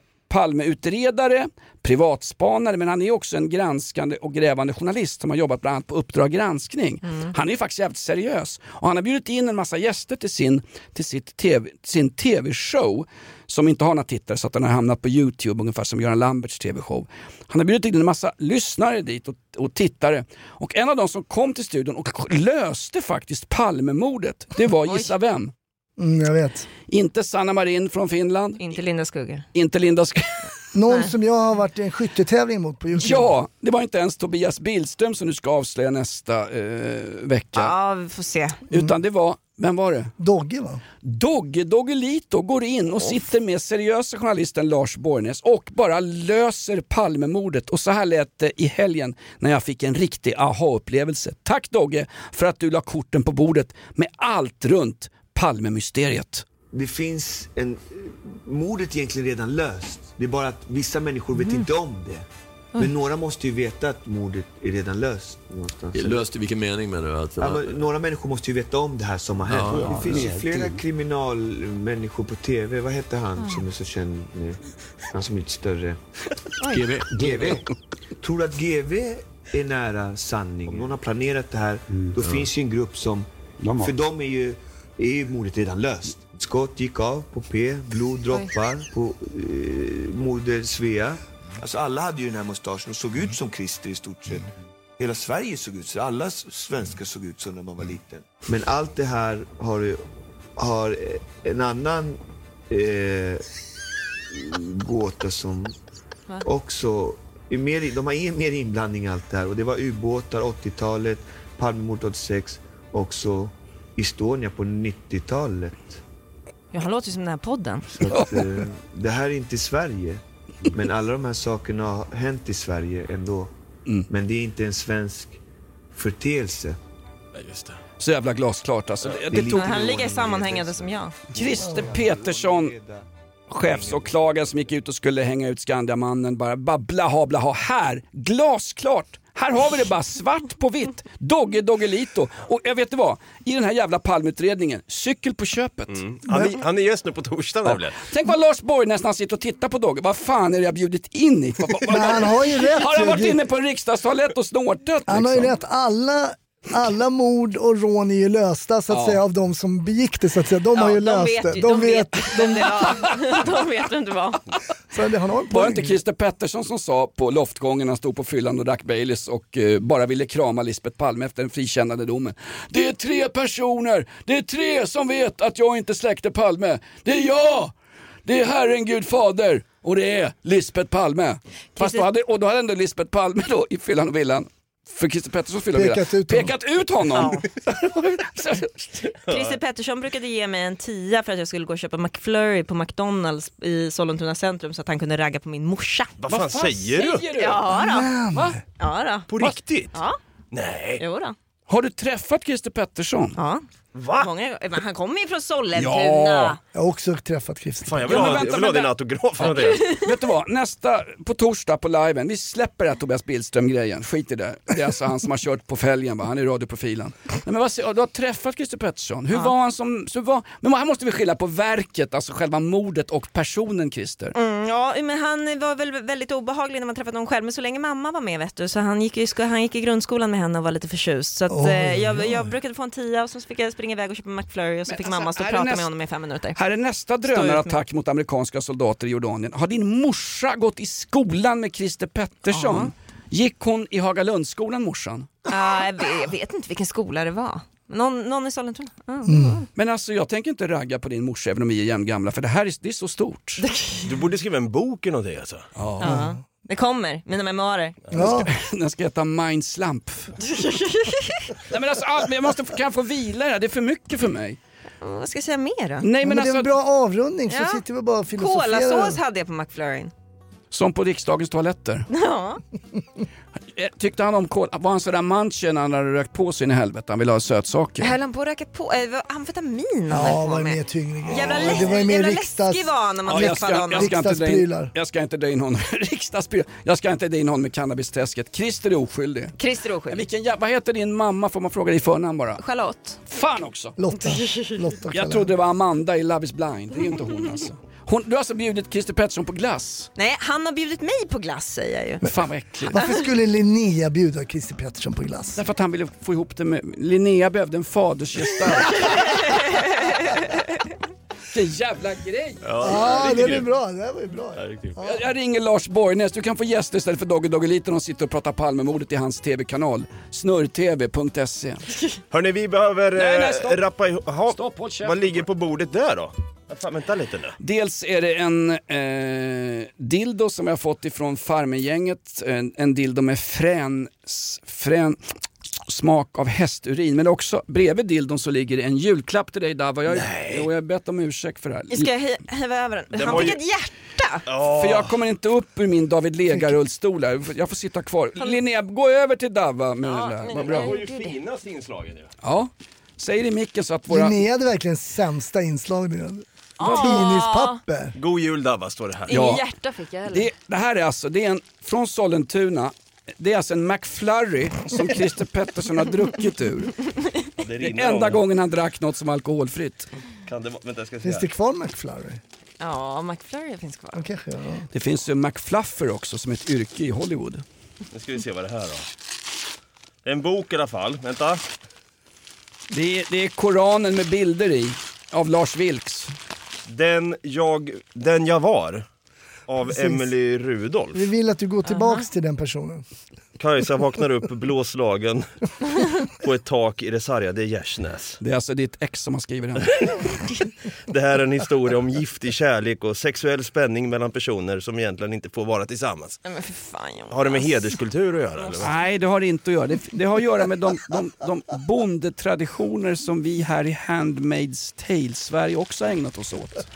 Speaker 1: Palmeutredare, privatspanare, men han är också en granskande och grävande journalist som har jobbat bland annat på Uppdrag granskning. Han är ju faktiskt jävligt seriös och han har bjudit in en massa gäster till sin, till sitt TV, sin tv-show som inte har några tittare så att den har hamnat på Youtube ungefär som Göran Lamberts tv-show. Han har bjudit in en massa lyssnare dit och, och tittare och en av de som kom till studion och löste faktiskt Palmemordet, det var gissa vem?
Speaker 3: Mm, jag vet.
Speaker 1: Inte Sanna Marin från Finland.
Speaker 2: Inte Linda Skugge.
Speaker 1: Inte Linda Skugge.
Speaker 3: Någon som jag har varit i en skyttetävling mot på Youtube.
Speaker 1: Ja, det var inte ens Tobias Billström som du ska avslöja nästa eh, vecka.
Speaker 2: Ja, vi får se.
Speaker 1: Utan det var, vem var det?
Speaker 3: Dogge va?
Speaker 1: Dogge, Doggelito går in och sitter med seriösa journalisten Lars Borgnäs och bara löser Palmemordet. Och så här lät det i helgen när jag fick en riktig aha-upplevelse. Tack Dogge för att du la korten på bordet med allt runt Palmemysteriet.
Speaker 10: Det finns en... Mordet är egentligen redan löst. Det är bara att vissa människor vet
Speaker 11: Mm.
Speaker 10: inte om det. Men
Speaker 11: Mm.
Speaker 10: några måste ju veta att mordet är redan löst någonstans.
Speaker 11: Löst i vilken mening menar du? Att,
Speaker 10: Ja, men några människor måste ju veta om det här som har
Speaker 11: Ja,
Speaker 10: hänt.
Speaker 11: ja,
Speaker 10: det finns ju
Speaker 11: ja.
Speaker 10: flera kriminalmänniskor på TV. Vad heter han som är så känd nu? Han som är lite större.
Speaker 11: Oj. GV.
Speaker 10: GV. Tror du att GV är nära sanningen? Om någon har planerat det här, då
Speaker 11: Ja.
Speaker 10: finns ju en grupp som...
Speaker 11: De har-
Speaker 10: för dem är ju, är ju mordet redan löst. Skott gick av på P, blod droppar på eh, moder Svea. Alltså alla hade ju den här mustaschen och såg ut som Christer i stort sett. Hela Sverige såg ut så. Alla s- svenskar såg ut så när man var liten. Men allt det här har, ju- har eh, en annan eh, gåta som
Speaker 12: Va?
Speaker 10: också... Är mer, de har in- mer inblandning i allt det här. Och det var ubåtar 80-talet, Palmemordet 86, också Estonia på 90-talet.
Speaker 2: Ja, han låter ju som den här podden.
Speaker 10: Så att, eh, det här är inte Sverige. Men alla de här sakerna har hänt i Sverige ändå. Men det är inte en svensk förteelse.
Speaker 1: Så jävla glasklart alltså. Det, det tog...
Speaker 2: Han ligger i sammanhängande som jag.
Speaker 1: Christer Petersson, chefsåklagaren som gick ut och skulle hänga ut Skandiamannen, bara, bara blaha blaha. Här, glasklart! Här har vi det bara svart på vitt. Dogge Doggelito. Och jag vet du vad? I den här jävla palmutredningen, cykel på köpet.
Speaker 4: Han är, han är gäst nu på torsdag nämligen.
Speaker 1: Tänk vad Lars Borgnäs när han sitter och tittar på Dogge, vad fan är det jag bjudit in i? Vad- vad- vad-
Speaker 3: Men han har ju rätt
Speaker 1: Har han
Speaker 3: ju.
Speaker 1: varit
Speaker 3: Det-
Speaker 1: inne på en riksdagstoalett och snortött
Speaker 3: Han har ju
Speaker 1: liksom?
Speaker 3: rätt, alla, alla mord och rån är ju lösta så att
Speaker 1: Ja.
Speaker 3: säga av de som begick det så att säga. De har ju löst det.
Speaker 2: De vet, ju- de
Speaker 3: de-
Speaker 2: vet vem det var. De vet vem det var.
Speaker 3: Så det har någon
Speaker 1: Var det
Speaker 3: poäng.
Speaker 1: inte Christer Pettersson som sa på loftgången när han stod på fyllan och drack Baileys och eh, bara ville krama Lisbeth Palme efter den frikännande domen. Det är tre personer, det är tre som vet att jag inte släckte Palme. Det är jag, det är Herren Gud Fader och det är Lisbeth Palme. Fast då hade, och då hade ändå Lisbeth Palme då i fyllan och villan för Christer Petterssons fylla och villa,
Speaker 13: Pekat ut honom.
Speaker 1: pekat ut honom.
Speaker 2: Christer Pettersson brukade ge mig en tia för att jag skulle gå och köpa McFlurry på McDonalds i Sollentuna centrum så att han kunde ragga på min morsa.
Speaker 4: Vad fan Vad fan säger du? säger du?
Speaker 2: Ja,
Speaker 4: Men.
Speaker 2: då. Ja, då.
Speaker 4: På riktigt?
Speaker 2: Ja.
Speaker 4: Nej.
Speaker 2: Jo, då.
Speaker 1: Har du träffat Christer Pettersson?
Speaker 2: Ja.
Speaker 4: Va?
Speaker 2: Många, men han kommer ju från Sollentuna.
Speaker 3: Jag har också träffat Christer.
Speaker 4: Fan, jag
Speaker 1: vill ha- jag vill ha din
Speaker 4: autograf.
Speaker 1: Vet du vad, nästa, på torsdag på liven, vi släpper det här Tobias Billström-grejen, skit i det. Det är alltså han som har kört på fälgen va, han är radioprofilen. Nej, men vad, säger- du har träffat Christer Pettersson, hur
Speaker 14: Ja.
Speaker 1: var han som, så var, men här måste vi skilja på verket, alltså själva mordet och personen Christer.
Speaker 2: Mm, ja, men han var väl väldigt obehaglig när man träffade honom själv, men så länge mamma var med vet du, så han gick, i sko- han gick i grundskolan med henne och var lite förtjust. Så att,
Speaker 1: Oj,
Speaker 2: eh, jag,
Speaker 1: oj.
Speaker 2: jag brukade få en tia och så fick jag springa iväg och köpa McFlurry och så
Speaker 1: Men
Speaker 2: fick
Speaker 1: alltså,
Speaker 2: mamma stå och
Speaker 1: här är
Speaker 2: prata
Speaker 1: näst-
Speaker 2: med honom i fem minuter.
Speaker 1: Här är nästa drönarattack mot amerikanska soldater i Jordanien. Har din morsa gått i skolan med Christer Pettersson? Gick hon i Hagalundsskolan morsan?
Speaker 2: Ah, jag, vet, jag vet inte vilken skola det var. Någon, någon i Sollentuna? Ah.
Speaker 1: Men alltså jag tänker inte ragga på din morsa även om vi är jämngamla för det här är, det är så stort.
Speaker 4: Du borde skriva en bok eller någonting alltså.
Speaker 2: Ja. Det kommer, mina memoarer.
Speaker 1: Den ska heta Mind Slump. Nej, men alltså, all- men jag måste få, kan jag få vila i det här? Det är för mycket för mig.
Speaker 2: Vad ska jag säga mer då?
Speaker 1: Nej, men
Speaker 3: men
Speaker 1: alltså-
Speaker 3: Det är en bra avrundning så
Speaker 2: Ja.
Speaker 3: sitter vi bara och filosoferar.
Speaker 2: Kolasås hade jag på McFlurryn.
Speaker 1: Som på riksdagens toaletter.
Speaker 2: Ja.
Speaker 1: Eh, Tyckte han om kol? Var han sådär manchen när han hade rökt på sin i helvete? Han ville ha sötsaker.
Speaker 2: Höll han på att röka på? Eh, vad- amfetamin han
Speaker 3: Ja,
Speaker 2: höll på
Speaker 3: var
Speaker 2: med.
Speaker 3: mer tyngre grejer.
Speaker 2: Jävla,
Speaker 3: det var ju
Speaker 2: läs-
Speaker 3: mer
Speaker 2: jävla
Speaker 3: riksdags...
Speaker 2: läskig var han när man
Speaker 1: Ja, jag,
Speaker 2: träffade
Speaker 1: ska,
Speaker 2: honom.
Speaker 1: jag, ska inte dra in,
Speaker 3: Riksdagsprylar.
Speaker 1: jag ska inte dra in honom. Riksdagsprylar. Jag ska inte dra in honom i cannabisträsket. Christer är oskyldig.
Speaker 2: Christer är oskyldig.
Speaker 1: Men Vilken, jä- vad heter din mamma? Får man fråga dig i förnamn bara?
Speaker 2: Charlotte.
Speaker 1: Fan också.
Speaker 3: Lotta. Lotta
Speaker 1: Jag trodde det var Amanda i Love is blind. Det är ju inte hon alltså. Hon, du har alltså bjudit Christer Pettersson på glass?
Speaker 2: Nej, han har bjudit mig på glass säger jag ju.
Speaker 1: Fan vad äckligt.
Speaker 3: Varför skulle Linnea bjuda Christer Pettersson på glass?
Speaker 1: Därför att han ville få ihop det med... Linnea behövde en fadersgestalt. Vilken jävla grej!
Speaker 3: Ja, det är bra. Det där var ju bra.
Speaker 1: Jag, jag ringer Lars Borgnäs, du kan få gäster istället för Dogge Doggeliten och sitter och pratar Palmemordet i hans TV-kanal. Snurrtv.se.
Speaker 4: Hörni, vi behöver
Speaker 1: E. Nej, nej,
Speaker 4: eh,
Speaker 1: stopp.
Speaker 4: rappa ihop... Aha,
Speaker 1: Stopp, håll käften.
Speaker 4: Vad ligger på bordet där då? Ja, Fan, vänta lite nu.
Speaker 1: Dels är det en eh, dildo som jag har fått ifrån Farmen-gänget. En, en dildo med frän, s- frän smak av hästurin. Men också bredvid dildon så ligger det en julklapp till dig Dava. Jag, Nej. Och jag har bett om ursäkt för det här.
Speaker 2: Ska jag he- häva över den?
Speaker 1: Den
Speaker 2: Han
Speaker 1: var
Speaker 2: fick
Speaker 1: ju-
Speaker 2: ett hjärta.
Speaker 1: För jag kommer inte upp ur min David Lega-rullstol här. Jag får sitta kvar. Linnea, gå över till Dava med det där. Vad
Speaker 4: Det
Speaker 1: bra.
Speaker 4: var ju finast inslaget ju.
Speaker 1: Ja, säg det i micken så att våra...
Speaker 3: Linnea hade verkligen sämsta inslagningen.
Speaker 1: Ah.
Speaker 3: Tidningspapper.
Speaker 4: God jul Dava står det här.
Speaker 1: Ja.
Speaker 12: hjärta fick jag heller.
Speaker 1: Det, det här är alltså, det är en, från Sollentuna, det är alltså en McFlurry som Christer Pettersson har druckit ur.
Speaker 4: Det
Speaker 1: Det
Speaker 4: rinner
Speaker 1: är enda
Speaker 4: om.
Speaker 1: gången han drack något som är alkoholfritt.
Speaker 4: Kan det vara... Vänta, jag ska se
Speaker 3: Finns
Speaker 4: här.
Speaker 3: det kvar McFlurry?
Speaker 2: Ja, McFlurry finns kvar.
Speaker 3: De kanske gör det.
Speaker 1: Det finns ju McFluffer också som ett yrke i Hollywood.
Speaker 4: Nu ska vi se vad det här då. Det är en bok i alla fall. Vänta.
Speaker 1: Det är, det är Koranen med bilder i, av Lars Vilks.
Speaker 4: Den jag, den jag var. Av
Speaker 3: Precis.
Speaker 4: Emily Rudolph.
Speaker 3: Vi vill att du går tillbaks till den personen.
Speaker 4: Kajsa vaknar upp blåslagen på ett tak i det sargade Gärsnäs.
Speaker 1: Det är alltså ditt ex som har skrivit den.
Speaker 4: Det här är en historia om giftig kärlek och sexuell spänning mellan personer som egentligen inte får vara tillsammans.
Speaker 2: Nej, men för fan Jonas.
Speaker 4: Har det med hederskultur att göra eller? vad?
Speaker 1: Nej, det har det inte att göra. Det, det har att göra med de, de, de bondetraditioner som vi här i Handmaid's Tale-Sverige också har ägnat oss åt.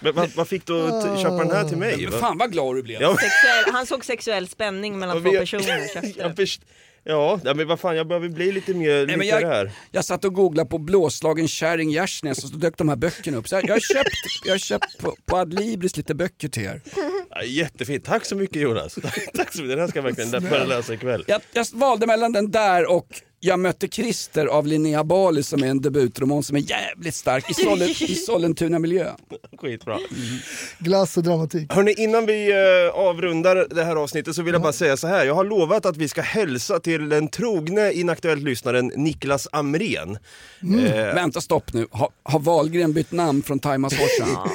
Speaker 4: Men vad, vad fick du att t- köpa den här till mig?
Speaker 1: Men
Speaker 4: va?
Speaker 1: fan vad glad du blev.
Speaker 4: Ja,
Speaker 2: Sexuell, han såg sexuell spänning mellan
Speaker 4: Ja,
Speaker 2: två
Speaker 4: vi-
Speaker 2: personer. så efter.
Speaker 4: jag först- ja, ja, men vad fan jag behöver bli lite mer
Speaker 1: Nej, men
Speaker 4: nyktrare
Speaker 1: jag,
Speaker 4: här.
Speaker 1: jag satt och googlade på blåslagen kärring Gärsnäs och så dök de här böckerna upp. Så jag, jag har köpt, jag har köpt på, på Adlibris lite böcker till er.
Speaker 4: Ja, jättefint, tack så mycket Jonas. tack så mycket, den här ska jag verkligen börja läsa ikväll.
Speaker 1: Jag, jag valde mellan den där och Jag mötte Christer av Linnea Bali som är en debutroman som är jävligt stark i, Sollen- i Sollentuna miljö.
Speaker 4: Skitbra.
Speaker 3: Glass och dramatik.
Speaker 4: Hörni, innan vi eh, avrundar det här avsnittet så vill jag bara säga så här. Jag har lovat att vi ska hälsa till den trogne Inaktuellt-lyssnaren Niklas Amrén. Eh,
Speaker 1: Mm. Vänta, stopp nu. Har, har Wahlgren bytt namn från Time Horsa?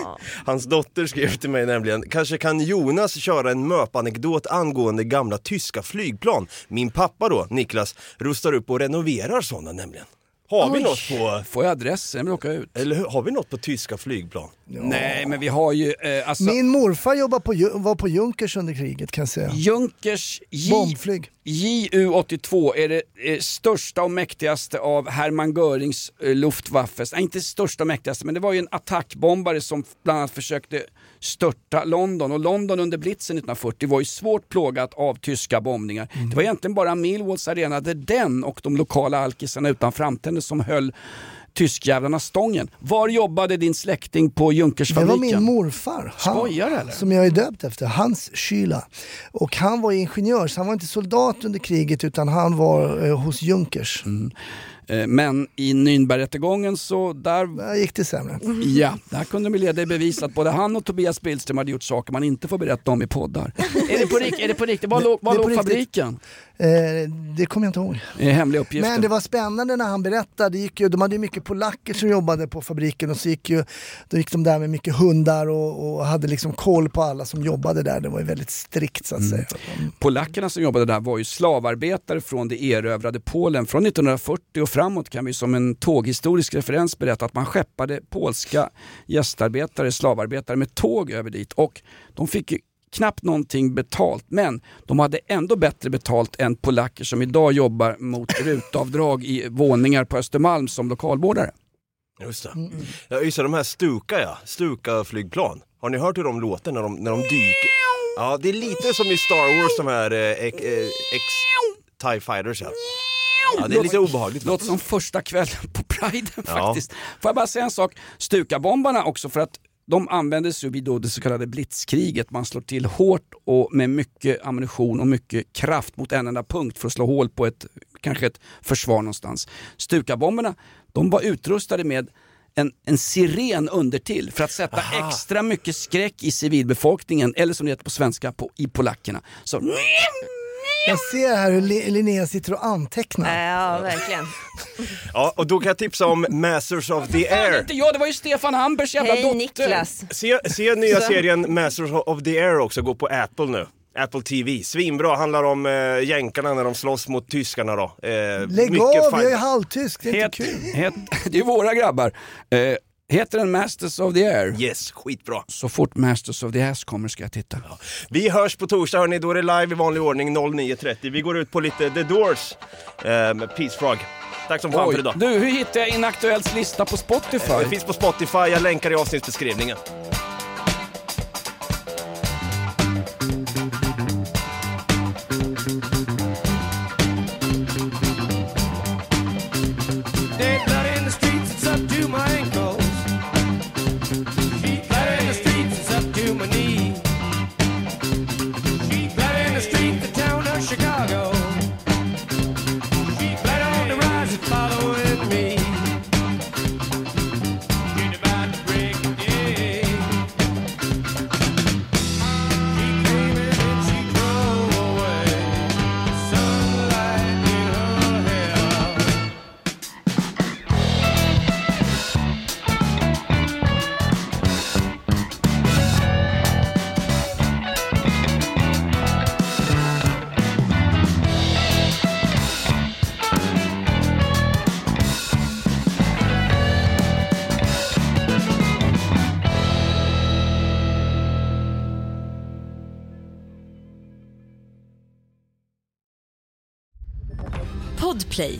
Speaker 4: Hans dotter skrev till mig nämligen, kanske kan Jonas köra en MÖP-anekdot angående gamla tyska flygplan. Min pappa då, Niklas, rustar upp och renoverar sådana nämligen. Har vi
Speaker 1: Oj.
Speaker 4: något på...
Speaker 1: Får jag adressen? Jag åka ut.
Speaker 4: Eller hur? har vi något på tyska flygplan?
Speaker 1: Nej, men vi har ju... Eh, alltså,
Speaker 3: Min morfar jobbar på, Ju- var på Junkers under kriget kan jag säga.
Speaker 1: Junkers J-
Speaker 3: Bombflyg.
Speaker 1: JU82 är det eh, största och mäktigaste av Hermann Görings eh, Luftwaffes. Nej, inte största och mäktigaste, men det var ju en attackbombare som bland annat försökte störta London. Och London under blitzen 1940 var ju svårt plågat av tyska bombningar.
Speaker 3: Mm.
Speaker 1: Det var egentligen bara Millwalls arena där den och de lokala alkisarna utan framtänder som höll tyskjävlarna stången. Var jobbade din släkting på
Speaker 3: Det var min
Speaker 1: Junkersfabriken?
Speaker 3: morfar. Han,
Speaker 1: Skojar du, eller?
Speaker 3: Som jag är döpt efter, Hans Kyla. Och han var ingenjör, så han var inte soldat under kriget utan han var eh, hos Junkers.
Speaker 1: Eh, Men i Nürnbergrättegången så där...
Speaker 3: Där gick det sämre.
Speaker 1: Mm-hmm. Ja, där kunde de leda i bevis att både han och Tobias Billström hade gjort saker man inte får berätta om i poddar. är, det på, rik- är det på riktigt? Var,
Speaker 3: Det-
Speaker 1: låg, var
Speaker 3: det är på
Speaker 1: låg
Speaker 3: riktigt.
Speaker 1: fabriken?
Speaker 3: Eh, det kommer jag inte ihåg.
Speaker 1: Eh, Hemliga uppgifter.
Speaker 3: Men det var spännande när han berättade. Det gick ju, de hade ju mycket polacker som jobbade på fabriken och så gick, ju, då gick de där med mycket hundar och, och hade liksom koll på alla som jobbade där. Det var ju väldigt strikt så att
Speaker 15: Mm.
Speaker 3: säga.
Speaker 1: Polackerna som jobbade där var ju slavarbetare från det erövrade Polen. Från 1940 och framåt kan vi som en tåghistorisk referens berätta att man skeppade polska gästarbetare, slavarbetare med tåg över dit och de fick ju knappt någonting betalt men de hade ändå bättre betalt än polacker som idag jobbar mot rutavdrag i våningar på Östermalm som lokalvårdare.
Speaker 4: Just det. Ja, just det, de här Stuka ja, Stuka-flygplan. Har ni hört hur de låter när de, när de dyker? Ja, det är lite som i Star Wars, de här eh, ex, eh, ex TIE Fighters ja. ja det är lite obehagligt.
Speaker 1: Låter som första kvällen på priden
Speaker 4: Ja.
Speaker 1: faktiskt. Får jag bara säga en sak, Stukabombarna också för att de användes ju vid då det så kallade blitzkriget. Man slår till hårt och med mycket ammunition och mycket kraft mot en enda punkt för att slå hål på ett, kanske ett försvar någonstans. Stukabomberna, de var utrustade med en, en siren undertill för att sätta extra mycket skräck i civilbefolkningen, eller som det heter på svenska, på, i polackerna. Så,
Speaker 3: Jag ser här hur Li- Linnea sitter och
Speaker 2: Äh,
Speaker 3: antecknar.
Speaker 9: Ja, verkligen.
Speaker 4: Ja, och då kan jag tipsa om Masters of the Air.
Speaker 1: inte jag, det var ju Stefan Hampers jävla
Speaker 9: Hej,
Speaker 1: dotter.
Speaker 9: Niklas.
Speaker 4: Se, se nya
Speaker 9: Så.
Speaker 4: serien Masters of the Air också, gå på Apple nu. Apple TV, svinbra, handlar om eh, jänkarna när de slåss mot tyskarna då. Eh,
Speaker 3: Lägg
Speaker 4: mycket
Speaker 3: av, jag
Speaker 4: fight.
Speaker 3: är halvtysk, det är inte kul.
Speaker 1: Het, det är våra grabbar. Eh, heter den Masters of the Air?
Speaker 4: Yes, skitbra.
Speaker 1: Så fort Masters of the Air kommer ska jag titta.
Speaker 4: Vi hörs på torsdag hörni, då är det live i vanlig ordning 09.30. Vi går ut på lite The Doors eh, med Peace Frog. Tack som fan
Speaker 1: Oj,
Speaker 4: för idag.
Speaker 1: du, hur hittar jag Inaktuells lista på Spotify?
Speaker 4: Det finns på Spotify, jag länkar i avsnittsbeskrivningen.
Speaker 12: Dead blood in the streets, it's up to my ankles. Sheep blood in the streets, it's up to my knees. Sheep blood in the street, the town of Chicago. Sheep blood on the rise, it's following me. It's about to break of day. She came in and she drove away. Sunlight in her hair.
Speaker 8: Podplay,